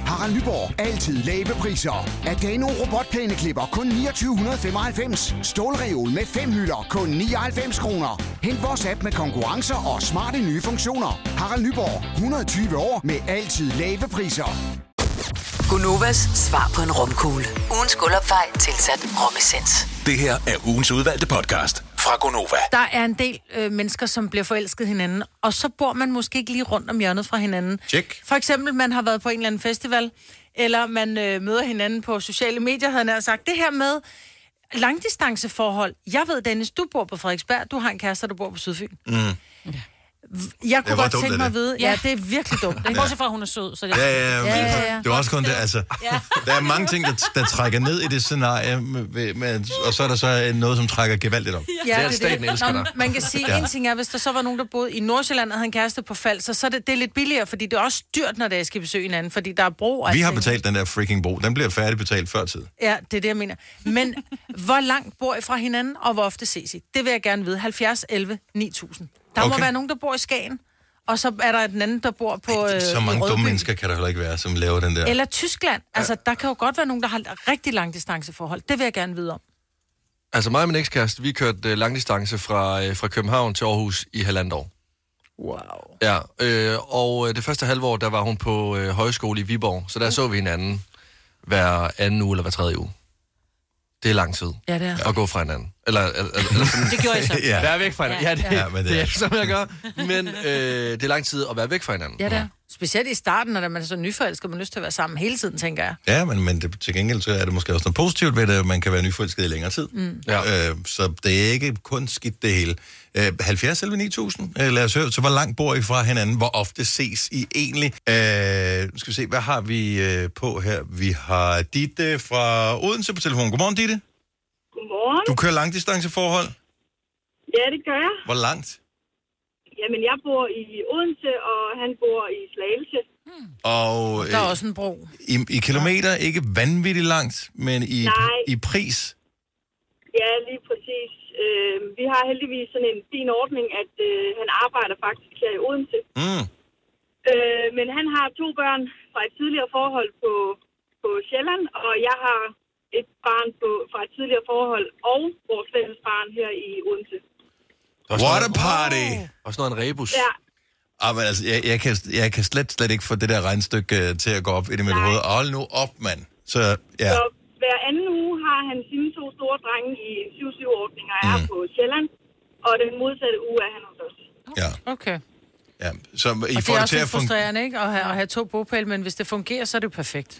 [SPEAKER 15] Harald Nyborg. Altid lave priser. Adano robotplæneklipper kun 2995. Stålreol med fem hylder kun 99 kroner. Hent vores app med konkurrencer og smarte nye funktioner. Harald Nyborg. 120 år med altid lave priser.
[SPEAKER 6] Gunovas svar på en romkugle. Ugens guldopfej tilsat romessens.
[SPEAKER 7] Det her er ugens udvalgte podcast fra Gonova.
[SPEAKER 2] Der er en del øh, mennesker, som bliver forelsket hinanden, og så bor man måske ikke lige rundt om hjørnet fra hinanden.
[SPEAKER 1] Check.
[SPEAKER 2] For eksempel, man har været på en eller anden festival, eller man øh, møder hinanden på sociale medier, havde jeg nær sagt. Det her med langdistanceforhold. Jeg ved, Dennis, du bor på Frederiksberg, du har en kæreste, der bor på Sydfyn.
[SPEAKER 1] Mm.
[SPEAKER 2] Jeg
[SPEAKER 1] Det
[SPEAKER 2] kunne
[SPEAKER 1] var
[SPEAKER 2] godt
[SPEAKER 1] dumt,
[SPEAKER 2] tænke
[SPEAKER 1] er
[SPEAKER 2] mig at
[SPEAKER 1] det?
[SPEAKER 2] vide, ja. ja, det er virkelig dumt.
[SPEAKER 1] Ja.
[SPEAKER 2] ikke?
[SPEAKER 1] Bortset
[SPEAKER 4] fra, at hun er sød, så
[SPEAKER 1] Ja, ja, ja.
[SPEAKER 2] ja, ja.
[SPEAKER 1] Det var også kun det, altså. Der er mange ting, der, der trækker ned i det scenarie, med, med, og så er der så noget, som trækker gevaldigt op.
[SPEAKER 2] Nå, Man kan sige, ja. en ting er, hvis der så var nogen, der boede i Nordsjælland og havde en kæreste på Falster, så er det, det er lidt billigere, fordi det er også dyrt, når der skal besøge hinanden, fordi der er bro. og
[SPEAKER 1] Vi har
[SPEAKER 2] alting.
[SPEAKER 1] betalt den der freaking bro. Den bliver færdigbetalt før tid.
[SPEAKER 2] Ja, det er det, jeg mener. Men [LAUGHS] hvor langt bor I fra hinanden, og hvor ofte ses I? Det vil jeg gerne vide. 70, 11, 9000. Der okay. må
[SPEAKER 1] Okay.
[SPEAKER 2] være nogen, der bor i Skagen, og så er der den anden, der bor på øh,
[SPEAKER 1] Så
[SPEAKER 2] i
[SPEAKER 1] mange
[SPEAKER 2] Rødby.
[SPEAKER 1] dumme mennesker kan der heller ikke være, som laver den der.
[SPEAKER 2] Eller Tyskland. Altså, der kan jo godt være nogen, der har rigtig lang distanceforhold. Det vil jeg gerne vide om.
[SPEAKER 3] Altså mig og min ekskæreste, vi kørte øh, langdistance fra, øh, fra København til Aarhus i halvandet år.
[SPEAKER 2] Wow.
[SPEAKER 3] Ja, øh, og øh, det første halvår, der var hun på øh, højskole i Viborg, så der så vi hinanden hver anden uge eller hver tredje uge. Det er lang tid
[SPEAKER 2] Ja, det er.
[SPEAKER 3] at gå fra hinanden. Eller, eller, eller sådan,
[SPEAKER 2] Det gjorde I så.
[SPEAKER 3] ja. Være væk fra hinanden. Ja, det,
[SPEAKER 2] Ja,
[SPEAKER 3] ja,
[SPEAKER 2] men
[SPEAKER 3] det,
[SPEAKER 2] det
[SPEAKER 3] det
[SPEAKER 2] er-
[SPEAKER 3] er som jeg gør. Men øh, det er lang tid at være væk fra
[SPEAKER 2] [LAUGHS]
[SPEAKER 3] hinanden.
[SPEAKER 2] Ja, det er. Specielt i starten, når man er så nyforelsket, man har lyst til at være sammen hele tiden, tænker jeg.
[SPEAKER 1] Ja, men, men det, til gengæld så er det måske også noget positivt ved det, at man kan være nyforelsket i længere tid.
[SPEAKER 2] Mm.
[SPEAKER 1] Ja. Øh, så det er ikke kun skidt det hele. Øh, 70 eller 9000, øh, lad os høre, så hvor langt bor I fra hinanden? Hvor ofte ses I egentlig? Øh, nu skal vi se, hvad har vi øh, på her? Vi har Ditte fra Odense på telefonen. Godmorgen, Ditte.
[SPEAKER 16] Godmorgen.
[SPEAKER 1] Du kører langdistanceforhold.
[SPEAKER 16] Ja, det gør jeg.
[SPEAKER 1] Hvor langt?
[SPEAKER 16] Jamen, jeg bor i Odense, og han bor i Slagelse.
[SPEAKER 1] Og, øh,
[SPEAKER 2] Der er også en bro.
[SPEAKER 1] I, I kilometer, ikke vanvittigt langt, men i,
[SPEAKER 16] Nej.
[SPEAKER 1] i pris.
[SPEAKER 16] Ja, lige præcis. Øh, vi har heldigvis sådan en fin ordning, at øh, han arbejder faktisk her i Odense.
[SPEAKER 1] Mm.
[SPEAKER 16] Øh, men han har to børn fra et tidligere forhold på, på Sjælland, og jeg har et barn på, fra et tidligere forhold og vores fælles barn her i Odense.
[SPEAKER 1] What a party!
[SPEAKER 3] Og sådan noget en rebus.
[SPEAKER 16] Ja,
[SPEAKER 1] Ah, men altså, jeg, jeg, kan, jeg kan slet, slet ikke få det der regnstykke øh, til at gå op ind i mit hoved. Hold nu op, mand. Så, ja.
[SPEAKER 16] Så hver anden uge har han sine to store drenge i 7-7-ordning og er på Sjælland. Og den modsatte uge er han hos os.
[SPEAKER 2] Okay.
[SPEAKER 1] Ja, så I får
[SPEAKER 2] og det
[SPEAKER 1] det til at
[SPEAKER 2] er også lidt
[SPEAKER 1] fungere.
[SPEAKER 2] frustrerende, ikke? At have, at have to bopæl, men hvis det fungerer, så er det jo perfekt.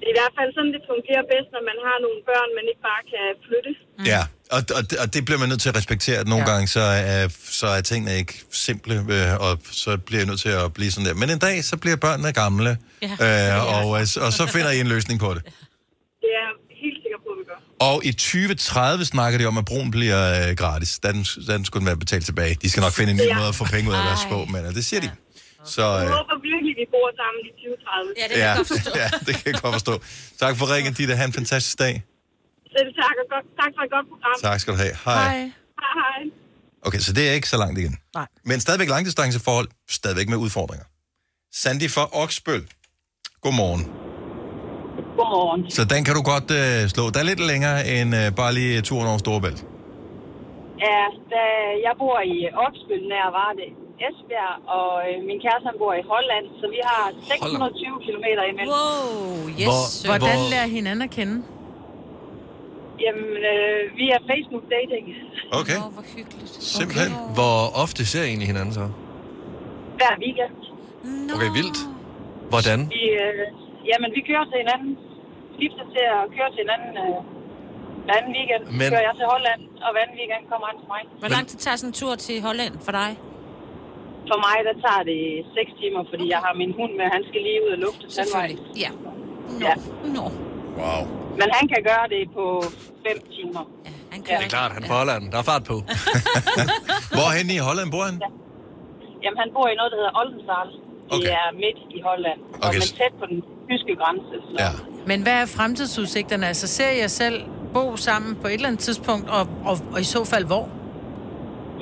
[SPEAKER 16] Det er i hvert fald sådan, det fungerer bedst, når man har nogle børn, man ikke bare kan flytte.
[SPEAKER 1] Ja, og, og, det- og det bliver man nødt til at respektere, at nogle ja. gange så er, så er tingene ikke simple, øh, og så bliver jeg nødt til at blive sådan der. Men en dag, så bliver børnene gamle,
[SPEAKER 16] Ja.
[SPEAKER 1] ja. øh, og, øh, og så finder I en løsning på det.
[SPEAKER 16] Det er jeg helt sikker på, at vi gør.
[SPEAKER 1] Og i 2030 snakker de om, at broen bliver øh, gratis. Da den, da den skulle den være betalt tilbage. De skal nok finde en ny
[SPEAKER 16] Ja.
[SPEAKER 1] måde at få penge ud af deres få, men øh, det siger de. Så
[SPEAKER 16] Jeg
[SPEAKER 1] øh,
[SPEAKER 16] håber virkelig, at vi bor sammen i 2030. Ja,
[SPEAKER 1] ja, [LAUGHS] ja, det kan jeg godt forstå. Tak for ringen, Ditte. Ha' en fantastisk dag.
[SPEAKER 16] Selv tak, og godt, tak for et godt program.
[SPEAKER 1] Tak skal du have. Hej. Hej.
[SPEAKER 16] Hej, hej.
[SPEAKER 1] Okay, så det er ikke så langt igen.
[SPEAKER 2] Nej.
[SPEAKER 1] Men stadigvæk langdistanceforhold, stadigvæk med udfordringer. Sandy fra Oksbøl. Godmorgen.
[SPEAKER 17] Godmorgen.
[SPEAKER 1] Så den kan du godt øh, slå. Der er lidt længere end øh, bare lige turen over Storebælt.
[SPEAKER 17] Ja, da jeg bor i Oksbøl nær Varde, Esbjerg, og øh, min kæreste han bor i Holland, så vi har 620 km imellem.
[SPEAKER 2] Wow,
[SPEAKER 17] yes, Hvor- søren.
[SPEAKER 2] Hvordan
[SPEAKER 17] hvor-
[SPEAKER 2] lærer hinanden at kende?
[SPEAKER 17] Jamen, øh, vi er Facebook-dating
[SPEAKER 1] Okay.
[SPEAKER 17] hvor hyggeligt.
[SPEAKER 3] Simpelthen. Hvor ofte ser I egentlig hinanden så?
[SPEAKER 17] hver weekend.
[SPEAKER 3] Okay, vildt. Hvordan?
[SPEAKER 17] Vi, øh, jamen, vi kører til hinanden, skifter til at køre til hinanden øh, hver anden weekend.
[SPEAKER 3] Men-
[SPEAKER 17] Men... kører jeg til Holland, og hver anden weekend kommer han til mig.
[SPEAKER 4] Hvor lang tid tager sådan en tur til Holland for dig?
[SPEAKER 17] For mig, der tager det 6 timer, fordi jeg har min hund med, han skal lige ud og lufte tandvejen.
[SPEAKER 4] Ja.
[SPEAKER 17] Ja.
[SPEAKER 4] Nå.
[SPEAKER 1] Wow.
[SPEAKER 17] Men han kan gøre det på 5 timer. Ja,
[SPEAKER 4] han
[SPEAKER 3] Ja, det er klart, han er fra Holland. Der er fart på.
[SPEAKER 1] Hvorhen i Holland bor han?
[SPEAKER 17] Jamen, han bor i noget, der hedder Oldensal. Det
[SPEAKER 1] Okay.
[SPEAKER 17] er midt i Holland, okay. og
[SPEAKER 1] Okay,
[SPEAKER 17] men
[SPEAKER 1] så-
[SPEAKER 17] tæt på den tyske grænse. Så.
[SPEAKER 1] Ja.
[SPEAKER 2] Men hvad er fremtidsudsigterne? Altså, ser jeg selv bo sammen på et eller andet tidspunkt, og, og, og i så fald hvor?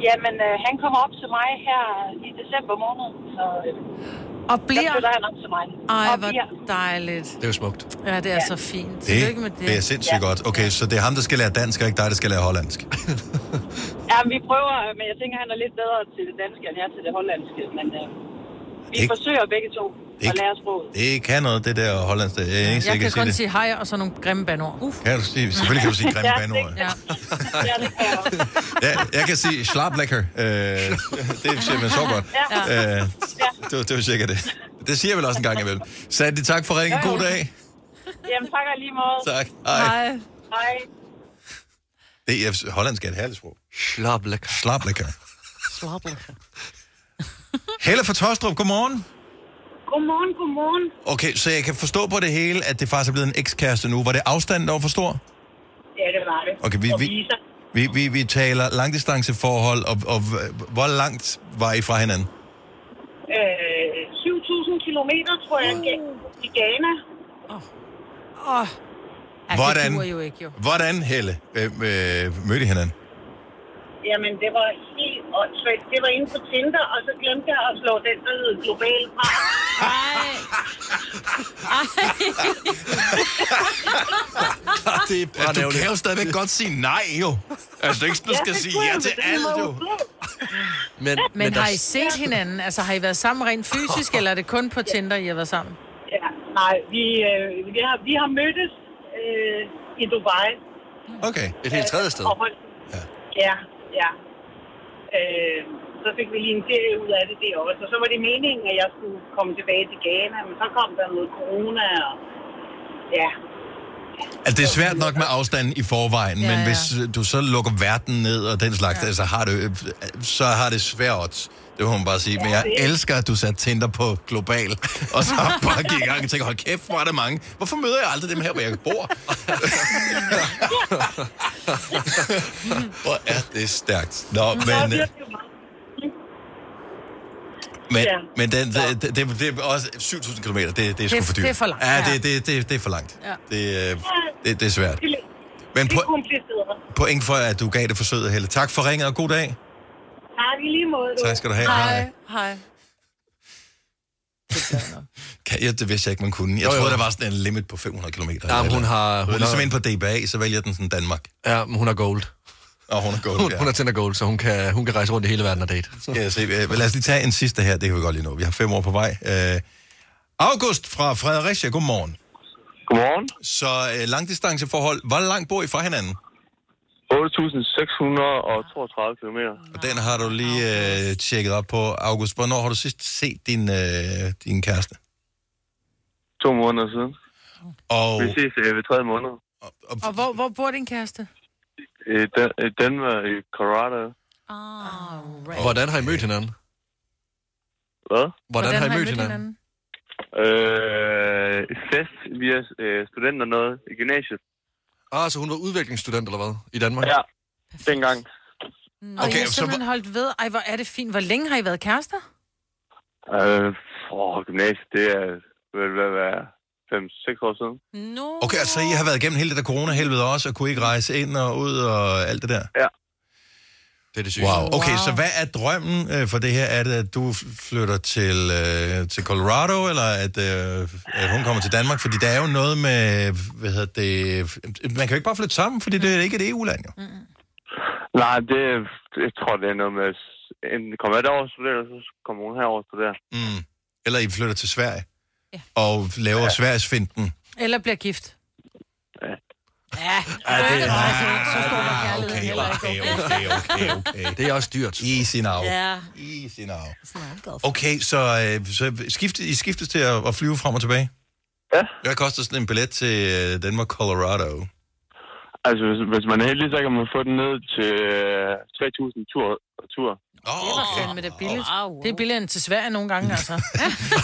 [SPEAKER 17] Jamen, øh, han kommer op til mig her i december måned, så øh,
[SPEAKER 2] Og
[SPEAKER 17] der
[SPEAKER 2] bliver...
[SPEAKER 17] flytter han op til mig.
[SPEAKER 2] Ej, hvor dejligt.
[SPEAKER 1] Det er jo smukt.
[SPEAKER 2] Ja, det er så fint. Tillykke med
[SPEAKER 1] Det,
[SPEAKER 2] det.
[SPEAKER 1] det er sindssygt godt. Okay, så det er ham, der skal lære dansk, og ikke dig, der skal lære
[SPEAKER 2] [LAUGHS]
[SPEAKER 1] hollandsk.
[SPEAKER 17] Jamen, vi prøver, øh, men jeg tænker, han er lidt bedre til det danske, end jeg er til det hollandske. Men øh, vi
[SPEAKER 1] Ikke-
[SPEAKER 17] forsøger begge to at
[SPEAKER 1] Ikke-
[SPEAKER 17] lære
[SPEAKER 1] [LAUGHS]
[SPEAKER 17] sproget.
[SPEAKER 1] Det kan noget, det der hollandsk. Jeg, er eneste,
[SPEAKER 2] Jeg kan
[SPEAKER 1] sige
[SPEAKER 2] kun
[SPEAKER 1] det.
[SPEAKER 2] sige hej og så nogle grimme bandord. Uf.
[SPEAKER 1] Kan du sige, selvfølgelig kan du
[SPEAKER 2] [LAUGHS]
[SPEAKER 1] sige grimme
[SPEAKER 2] Ja,
[SPEAKER 1] banord.
[SPEAKER 2] Ja.
[SPEAKER 1] Ja, jeg kan sige schlaplækker. Øh, det er simpelthen så godt.
[SPEAKER 10] Ja.
[SPEAKER 1] Øh, det, var- det var sikkert det. Det siger jeg vel også en gang imellem. Sandy, tak for ringen. God dag.
[SPEAKER 17] Jamen, tak og lige måde.
[SPEAKER 1] Tak. Hej. Hej.
[SPEAKER 17] Hej.
[SPEAKER 1] Det er, hollandsk er et herligt sprog.
[SPEAKER 3] Schlaplækker.
[SPEAKER 1] Schlaplækker. [LAUGHS] Helle fra Tostrup, godmorgen.
[SPEAKER 16] Godmorgen, godmorgen.
[SPEAKER 1] Okay, så jeg kan forstå på det hele, at det faktisk er blevet en ekskæreste nu. Var det afstanden, der var for stor?
[SPEAKER 16] Ja, det var det.
[SPEAKER 1] Okay, vi, vi, vi, vi, vi taler langdistanceforhold, og, og h- hvor langt var I fra hinanden?
[SPEAKER 16] Øh, 7.000 kilometer, tror jeg, i Ghana.
[SPEAKER 2] Åh, oh.
[SPEAKER 1] det Hvordan? duer jo ikke,
[SPEAKER 2] jo.
[SPEAKER 1] Hvordan, Helle, øh, øh, mødte I hinanden?
[SPEAKER 16] Jamen, det var helt åndssvagt. Det var inde på Tinder, og så glemte jeg at slå den, der hed Global fra.
[SPEAKER 1] [LAUGHS]
[SPEAKER 3] Ah,
[SPEAKER 1] det er du kan jo stadigvæk godt sige nej, [LAUGHS] jo. Altså, det er ikke sådan, du skal sige ja til alt, jo.
[SPEAKER 3] Men,
[SPEAKER 2] Men, har I set hinanden? Altså, har I været sammen rent
[SPEAKER 1] [LAUGHS]
[SPEAKER 2] fysisk, eller er det kun på Tinder, I har været sammen?
[SPEAKER 16] Ja, nej, vi, øh, vi, har, vi har mødtes øh, i Dubai.
[SPEAKER 1] Okay.
[SPEAKER 3] Et helt tredje sted.
[SPEAKER 16] Og holdt. Ja. Ja, Øh, så fik vi lige en ferie ud af det der også. Og så var det meningen, at jeg skulle komme tilbage til Ghana, men så kom der noget corona, og ja.
[SPEAKER 1] Altså, det er svært nok med afstanden i forvejen, ja,
[SPEAKER 16] Ja,
[SPEAKER 1] men
[SPEAKER 16] ja.
[SPEAKER 1] hvis øh, du så lukker verden ned og den slags, ja. altså, har det, øh, så har det svært. Det må man bare sige. Men
[SPEAKER 16] Ja,
[SPEAKER 1] jeg
[SPEAKER 16] det er-
[SPEAKER 1] elsker, at du satte Tinder på global, [LAUGHS] og så bare gik i gang og tænkte, hold kæft, hvor er der mange. Hvorfor møder jeg aldrig dem her, hvor jeg bor? [LAUGHS] hvor er det stærkt. Nå, men... øh, Men,
[SPEAKER 10] Ja.
[SPEAKER 1] ja. men den, det, det, det, det er også 7.000 km, det, det er sgu
[SPEAKER 10] Det-
[SPEAKER 1] for dyrt.
[SPEAKER 10] det er for langt,
[SPEAKER 1] Ja,
[SPEAKER 10] ja.
[SPEAKER 1] det, det, det, det er for langt.
[SPEAKER 10] Ja.
[SPEAKER 1] Det, øh, det, det er svært. Men
[SPEAKER 16] Det er
[SPEAKER 1] po-
[SPEAKER 16] kompliceret.
[SPEAKER 1] point for, at du gav det forsøget, Helle. Tak for ringet, og god dag.
[SPEAKER 16] Tak i lige måde.
[SPEAKER 1] Tak skal du have. Hej.
[SPEAKER 2] Hej.
[SPEAKER 1] Kan, jeg, det vidste jeg ikke, man kunne. Jeg
[SPEAKER 3] Jo,
[SPEAKER 1] troede,
[SPEAKER 3] jo.
[SPEAKER 1] der var sådan en limit på 500 km.
[SPEAKER 3] Ja, men hun har...
[SPEAKER 1] Hun
[SPEAKER 3] Hun
[SPEAKER 1] er ligesom inde på DBA, så vælger den sådan Danmark.
[SPEAKER 3] Ja, men hun er gold.
[SPEAKER 1] Og hun er gold,
[SPEAKER 3] Hun,
[SPEAKER 1] ja.
[SPEAKER 3] hun er tænder gold, så hun kan, hun kan rejse rundt i hele verden og date.
[SPEAKER 1] Skal jeg se. øh, Lad os lige tage en sidste her, det kan vi godt lige nå. Vi har fem år på vej. Øh, August fra Fredericia, godmorgen.
[SPEAKER 18] Godmorgen.
[SPEAKER 1] Så øh, langdistanceforhold. Hvor langt bor I fra hinanden?
[SPEAKER 18] 8.632 km.
[SPEAKER 1] Og den har du lige øh, tjekket op på. August, hvornår har du sidst set din, øh, din kæreste?
[SPEAKER 18] To måneder siden.
[SPEAKER 1] Og...
[SPEAKER 18] Vi ses øh, ved tredje måned.
[SPEAKER 2] Og hvor, hvor bor din kæreste?
[SPEAKER 18] Øh, Dan- øh, Danmark i Colorado.
[SPEAKER 4] Ah.
[SPEAKER 3] Hvordan har I mødt hinanden?
[SPEAKER 18] Hvad?
[SPEAKER 3] Hvordan har I mødt hinanden?
[SPEAKER 18] Øh, fest via øh, studenter noget i gymnasiet.
[SPEAKER 3] Ah, så hun var udviklingsstudent eller hvad? I Danmark?
[SPEAKER 18] Ja, dengang.
[SPEAKER 2] Og okay,
[SPEAKER 3] Okay,
[SPEAKER 2] jeg har
[SPEAKER 3] så
[SPEAKER 2] simpelthen holdt ved. Ej, hvor er det fint. Hvor længe har I været kærester?
[SPEAKER 18] Øh, for gymnasiet, det er vel hvad være 5-6 år siden.
[SPEAKER 1] Okay, altså I har været igennem hele det der corona-helvede også, og kunne ikke rejse ind og ud og alt det der?
[SPEAKER 18] Ja.
[SPEAKER 3] Det er det
[SPEAKER 1] sygeste. Wow. Okay, så hvad er drømmen øh, for det her? Er det, at du f- flytter til, øh, til Colorado, eller at, øh, at hun kommer til Danmark? Fordi der er jo noget med, hvad hedder det... Man kan jo ikke bare flytte sammen, fordi det er ikke et EU-land, jo.
[SPEAKER 18] Nej, det, jeg tror, det er noget med, s- enten kommer jeg derover og studerer, eller så kommer hun herover og studerer.
[SPEAKER 1] Mm. Eller I flytter til Sverige og laver ja. Sveriges finden.
[SPEAKER 2] Eller bliver gift? Ja.
[SPEAKER 1] Ja,
[SPEAKER 2] det
[SPEAKER 1] det er-
[SPEAKER 2] er
[SPEAKER 1] Ah,
[SPEAKER 2] meget fint. Så står der
[SPEAKER 1] Okay,
[SPEAKER 2] kærligheden
[SPEAKER 1] okay, okay, okay, okay.
[SPEAKER 3] Det er også dyrt.
[SPEAKER 1] Easy now.
[SPEAKER 2] Ja.
[SPEAKER 1] Easy now. Okay, så, øh, så skifte, I skiftes til at, at flyve frem og tilbage?
[SPEAKER 18] Ja.
[SPEAKER 1] Hvad koster sådan en billet til øh, Danmark Colorado?
[SPEAKER 18] Altså, hvis, hvis man er heldig, så kan man få den ned til øh, 3.000 tur. tur.
[SPEAKER 2] Det var fandme da billigt. Det er billigere end til Sverige nogle gange,
[SPEAKER 3] [LAUGHS]
[SPEAKER 2] altså.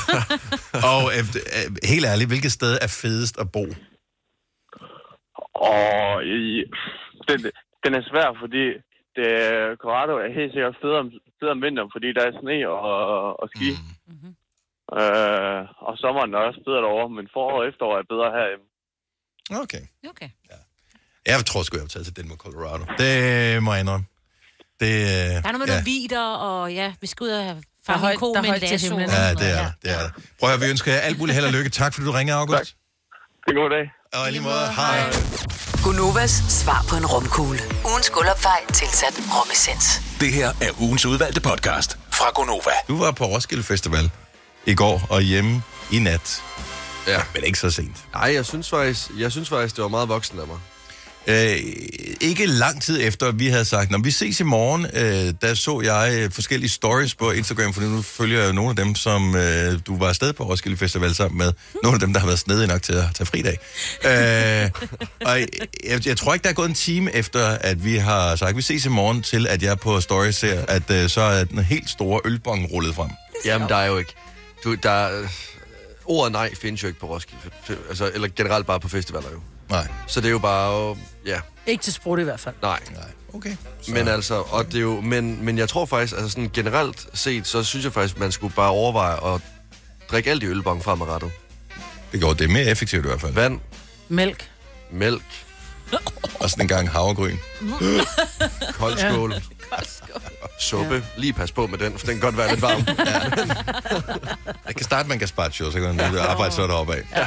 [SPEAKER 1] [LAUGHS] Og øh, øh, helt ærligt, hvilket sted er fedest at bo?
[SPEAKER 18] Og i, den, den er svær, fordi det, Colorado er helt sikkert federe om, federe om vinteren, fordi der er sne og, og ski. Mm. Øh, og sommeren er også bedre derovre, men forår og efterår er bedre herhjemme.
[SPEAKER 1] Okay.
[SPEAKER 4] Okay.
[SPEAKER 1] Jeg tror sgu, jeg vil tage til Danmark Colorado. Det må jeg indrømme. Det, øh,
[SPEAKER 4] Der er noget med
[SPEAKER 1] ja.
[SPEAKER 4] nogle vider, og ja, vi skal ud og have
[SPEAKER 2] Der er
[SPEAKER 4] fange en
[SPEAKER 2] højt-
[SPEAKER 4] ko
[SPEAKER 2] der er
[SPEAKER 4] med en
[SPEAKER 2] højt til
[SPEAKER 4] lasso.
[SPEAKER 2] himlen.
[SPEAKER 1] Ja, det er der. Det er der. Prøv at høre, vi ønsker jer alt muligt held og lykke. Tak, fordi du ringede, August. Tak.
[SPEAKER 18] Det god dag.
[SPEAKER 1] Og i lige måde, hej.
[SPEAKER 6] Gunovas svar på en romkugle. Ugens guldopfej tilsat romessens.
[SPEAKER 7] Det her er ugens udvalgte podcast fra Gonova.
[SPEAKER 1] Du var på Roskilde Festival i går og hjemme i nat. Ja. Men ikke så sent.
[SPEAKER 3] Nej, jeg synes faktisk, jeg synes faktisk det var meget voksen af mig.
[SPEAKER 1] Øh, ikke lang tid efter, vi havde sagt, når vi ses i morgen, øh, der så jeg øh, forskellige stories på Instagram, for nu følger jeg jo nogle af dem, som øh, du var afsted på Roskilde Festival sammen med. Nogle af dem, der har været snedige nok til at tage fridag. Øh, og jeg, jeg tror ikke, der er gået en time efter, at vi har sagt, vi ses i morgen, til at jeg på stories ser, at øh, så er den helt store ølbong rullet frem.
[SPEAKER 3] Jamen, der er jo ikke... Du, der, er- ordet nej findes jo ikke på Roskilde. F- f- Altså, eller generelt bare på festivaler jo.
[SPEAKER 1] Nej.
[SPEAKER 3] Så det er jo bare... Ja,
[SPEAKER 2] Ikke til sprut i hvert fald.
[SPEAKER 3] nej.
[SPEAKER 1] Okay.
[SPEAKER 3] Men altså, og det er jo, men, men jeg tror faktisk, altså sådan generelt set, så synes jeg faktisk, man skulle bare overveje at drikke alt i ølbong fremadrettet.
[SPEAKER 1] Det går det er mere effektivt i hvert fald.
[SPEAKER 3] Vand,
[SPEAKER 2] Mælk.
[SPEAKER 3] mælk,
[SPEAKER 1] og sådan en gang havregryn.
[SPEAKER 3] kold skål,
[SPEAKER 1] [LAUGHS]
[SPEAKER 3] suppe. Ja. Lige pas på med den, for den kan godt være
[SPEAKER 1] [LAUGHS]
[SPEAKER 3] lidt varm.
[SPEAKER 1] Jeg kan starte med en gazpacho, så kan man ja. arbejde så deroppe af. Ja.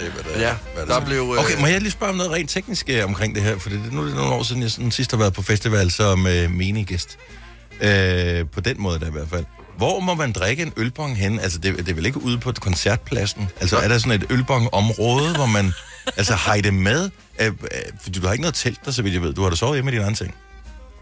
[SPEAKER 1] Det er, hvad det er.
[SPEAKER 3] Ja,
[SPEAKER 1] hvad det
[SPEAKER 3] der
[SPEAKER 1] er.
[SPEAKER 3] blev, øh,
[SPEAKER 1] Okay, må jeg lige spørge om noget rent teknisk øh, omkring det her? For det, nu er det nogle år siden, jeg sådan, sidst har været på festival som øh, menigæst. Øh, på den måde da i hvert fald. Hvor må man drikke en ølbong hen? Altså, det, det er vel ikke ude på koncertpladsen? Altså, er der sådan et ølbong-område, hvor man... Altså, har I det med? Øh, øh, fordi du har ikke noget telt der, så vidt jeg ved. Du har da sovet hjemme i din anden ting.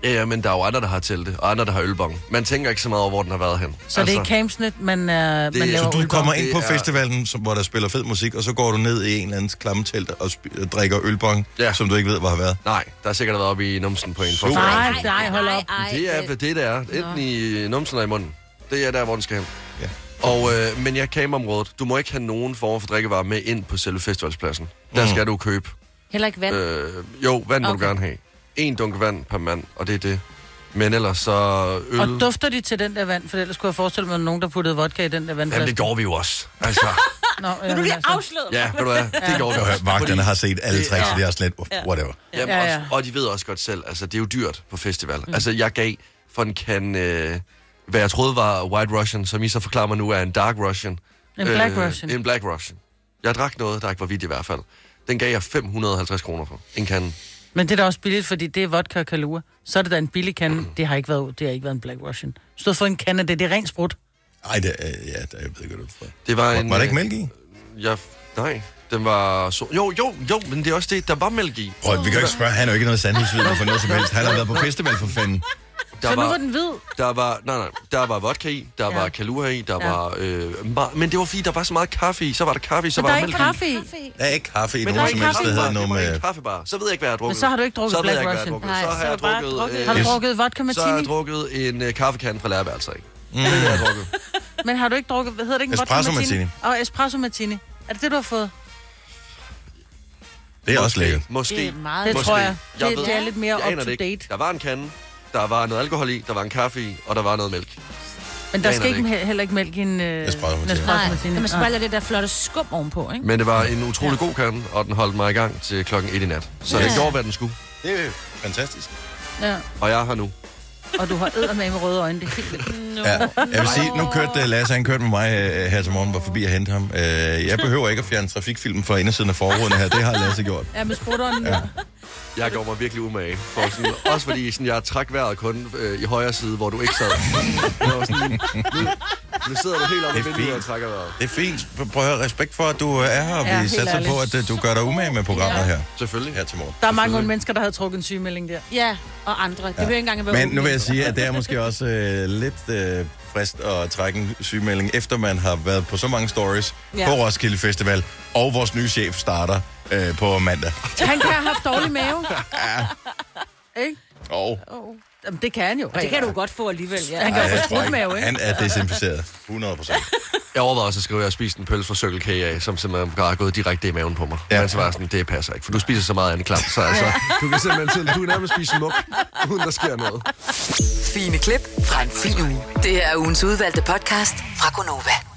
[SPEAKER 3] Ja, ja, men der er jo andre, der har telte, og andre, der har ølbong. Man tænker ikke så meget over, hvor den har været hen.
[SPEAKER 2] Så det er i Camsnet, man, uh, man
[SPEAKER 3] Altså, Det-
[SPEAKER 2] laver
[SPEAKER 1] Så du
[SPEAKER 2] ølbong.
[SPEAKER 1] kommer ind på
[SPEAKER 3] Det er-
[SPEAKER 1] festivalen, som, hvor der spiller fed musik, og så går du ned i en eller anden klammetelt og, sp- og drikker ølbong, ja. som du ikke ved, hvor har været.
[SPEAKER 3] Nej, der har sikkert været oppe i numsen på en for
[SPEAKER 2] Nej, nej, hold op.
[SPEAKER 3] Det er, hvad det der er. Enten i numsen eller i munden. Det er der, hvor den skal hen. Ja. Og, øh, men jeg kameraområdet. Du må ikke have nogen form for drikkevarer med ind på selve festivalspladsen.
[SPEAKER 1] Mm.
[SPEAKER 3] Der skal du købe.
[SPEAKER 4] Heller ikke vand.
[SPEAKER 3] Øh, jo, vand må
[SPEAKER 4] Okay.
[SPEAKER 3] du gerne have. En dunk vand per mand, og det er det. Men ellers så øl...
[SPEAKER 2] Og dufter de til den der vand? For ellers kunne jeg forestille mig, at nogen, der puttede vodka i den der vandflaske.
[SPEAKER 3] Jamen, det gjorde vi jo også. Altså,
[SPEAKER 2] Nå, altså. Vil
[SPEAKER 4] du lige afsløre
[SPEAKER 3] ja, ved du hvad, det gjorde vi
[SPEAKER 1] Hør,
[SPEAKER 3] også.
[SPEAKER 1] Vagterne
[SPEAKER 3] Fordi-
[SPEAKER 1] har set alle tricks, så det er også lidt, whatever.
[SPEAKER 3] Jamen,
[SPEAKER 2] Ja,
[SPEAKER 3] ja,
[SPEAKER 2] ja.
[SPEAKER 3] ja. Også, og de ved også godt selv, altså det er jo dyrt på festival. Mm. Altså jeg gav for en kan, øh, hvad jeg troede var White Russian, som I så forklarer mig nu er en Dark Russian. Øh,
[SPEAKER 2] En Black Russian.
[SPEAKER 3] En Black Russian. Jeg drak noget, der ikke var vidt i hvert fald. Den gav jeg 550 kroner for. En kan.
[SPEAKER 2] Men det er da også billigt, fordi det er vodka og kalua. Så er det da en billig kande. Det har ikke været, det har ikke været en Black Russian. Stod for en kande, det, det er rent sprut.
[SPEAKER 1] Ej, det, øh, ja, det, jeg ved ikke, hvad du får.
[SPEAKER 3] Det
[SPEAKER 1] Var-
[SPEAKER 3] var en...
[SPEAKER 1] var der
[SPEAKER 3] øh,
[SPEAKER 1] ikke mælk i?
[SPEAKER 3] Jeg, nej, det Den var... So- jo, jo, jo, men det er også det, der var mælk i.
[SPEAKER 1] Prøv, at- vi kan jo ikke spørge, han er jo ikke noget sandhedsvidne for noget som helst. Han har været på festival for fanden.
[SPEAKER 3] Der
[SPEAKER 2] Så nu var den hvid.
[SPEAKER 3] Der var, nej, nej, der var vodka i, der
[SPEAKER 2] Ja.
[SPEAKER 3] var kalua i, der
[SPEAKER 2] Ja.
[SPEAKER 3] var... Øh, ma- men det var fordi, der var så meget kaffe i, så var der kaffe i, så
[SPEAKER 2] Men
[SPEAKER 3] var
[SPEAKER 2] der er
[SPEAKER 3] der
[SPEAKER 2] ikke
[SPEAKER 3] mælk
[SPEAKER 2] kaffe i.
[SPEAKER 1] Der er ikke kaffe i
[SPEAKER 3] Men
[SPEAKER 1] nogen
[SPEAKER 3] der er
[SPEAKER 1] som
[SPEAKER 3] ikke
[SPEAKER 1] helst,
[SPEAKER 3] kaffe i
[SPEAKER 1] der hedder
[SPEAKER 3] bare.
[SPEAKER 1] noget
[SPEAKER 3] Det var
[SPEAKER 1] med...
[SPEAKER 3] ikke kaffebar. Så ved jeg ikke, hvad jeg har drukket.
[SPEAKER 2] Men så har du ikke drukket
[SPEAKER 3] så ved jeg
[SPEAKER 2] Black
[SPEAKER 3] ikke,
[SPEAKER 2] Russian.
[SPEAKER 3] hvad jeg Har drukket.
[SPEAKER 2] Nej,
[SPEAKER 3] så har
[SPEAKER 2] så
[SPEAKER 3] jeg
[SPEAKER 2] har du bare
[SPEAKER 3] drukket...
[SPEAKER 2] drukket-
[SPEAKER 3] øh,
[SPEAKER 2] Har du drukket vodka
[SPEAKER 3] Så har
[SPEAKER 2] martini?
[SPEAKER 3] jeg drukket en øh, kaffekande fra læreværelset, ikke? Mm. Det har jeg drukket.
[SPEAKER 2] Men har du ikke drukket, hvad hedder det ikke? vodka
[SPEAKER 3] Espresso
[SPEAKER 2] Og espresso martini. Er det det, du har fået?
[SPEAKER 1] Det er også lækkert.
[SPEAKER 3] Måske.
[SPEAKER 2] Det er meget- Det
[SPEAKER 3] Måske.
[SPEAKER 2] tror jeg.
[SPEAKER 3] jeg
[SPEAKER 2] Det-
[SPEAKER 3] ved-
[SPEAKER 2] det er lidt mere
[SPEAKER 3] jeg aner
[SPEAKER 2] up to
[SPEAKER 3] det ikke.
[SPEAKER 2] date.
[SPEAKER 3] Der var en kande, der var noget alkohol i, der var en kaffe i, og der var noget mælk.
[SPEAKER 2] Men der
[SPEAKER 3] Jeg
[SPEAKER 2] skal
[SPEAKER 3] aner
[SPEAKER 2] ikke, he- heller ikke mælk i en... Øh,
[SPEAKER 3] Espresso martini.
[SPEAKER 4] Nej,
[SPEAKER 2] martini. Ah,
[SPEAKER 4] man skal bare
[SPEAKER 2] Nej.
[SPEAKER 4] lade det der flotte skum ovenpå, ikke?
[SPEAKER 3] Men det var en utrolig god kande, og den holdt mig i gang til klokken 1 i nat. Så
[SPEAKER 4] Ja.
[SPEAKER 3] jeg gjorde, hvad den skulle.
[SPEAKER 1] Det er fantastisk.
[SPEAKER 2] Ja.
[SPEAKER 3] Og jeg er her nu.
[SPEAKER 2] Og du har eddermame med røde øjne, det er helt vildt.
[SPEAKER 1] Ja, jeg vil sige, nu kørte øh, Lasse, han kørte med mig øh, her til morgen, var forbi og hente ham. Øh, Jeg behøver ikke at fjerne trafikfilmen fra indersiden af forruden her, det har Lasse gjort.
[SPEAKER 2] Ja, med sprutteren. Ja.
[SPEAKER 3] Jeg gjorde mig virkelig umage. For sådan, også fordi sådan, jeg trak vejret kun øh, i højre side, hvor du ikke sad. Jeg var sådan, nu, nu sidder du helt oppe i
[SPEAKER 1] Det er
[SPEAKER 3] vinduet
[SPEAKER 1] fint.
[SPEAKER 3] og trækker vejret.
[SPEAKER 1] Det er fint. Prøv at høre, respekt for, at du øh, er her, og
[SPEAKER 2] Ja,
[SPEAKER 1] vi
[SPEAKER 2] helt
[SPEAKER 1] satser på, at
[SPEAKER 2] ærligt.
[SPEAKER 1] øh, du gør dig umage med programmet
[SPEAKER 2] Ja.
[SPEAKER 1] her. Selvfølgelig. Her til morgen.
[SPEAKER 2] Der er mange unge mennesker, der havde trukket en sygemelding der.
[SPEAKER 4] Ja, og andre. Det
[SPEAKER 1] Ja.
[SPEAKER 4] behøver ikke engang at være
[SPEAKER 1] Men nu
[SPEAKER 4] åbent.
[SPEAKER 1] vil jeg sige, at det er måske også øh, lidt øh, frist at trække en sygemelding, efter man har været på så mange stories
[SPEAKER 2] Ja.
[SPEAKER 1] ja. på Roskilde Festival, og vores nye chef starter øh, på mandag.
[SPEAKER 2] Han kan have haft dårlig mave.
[SPEAKER 1] Ja.
[SPEAKER 2] Ikke?
[SPEAKER 1] Og
[SPEAKER 2] Oh. Jamen, det kan han jo.
[SPEAKER 4] Og det kan du godt få alligevel, ja.
[SPEAKER 2] Han kan
[SPEAKER 1] Ej,
[SPEAKER 2] jo
[SPEAKER 1] jeg
[SPEAKER 2] få
[SPEAKER 1] tror ikke.
[SPEAKER 2] sprutmave, ikke?
[SPEAKER 1] han er desinficeret. 100 procent.
[SPEAKER 3] Jeg overvejede også at skrive, at jeg spiste en pølse fra Circle K af, som simpelthen bare er gået direkte i maven på mig. Ja. Men så var jeg sådan, det passer ikke, for du spiser så meget andet klam. Så altså, du kan simpelthen til, du er nærmest spise muk, uden der sker noget.
[SPEAKER 6] Fine klip fra en fin uge. Det her er ugens udvalgte podcast fra Gonova.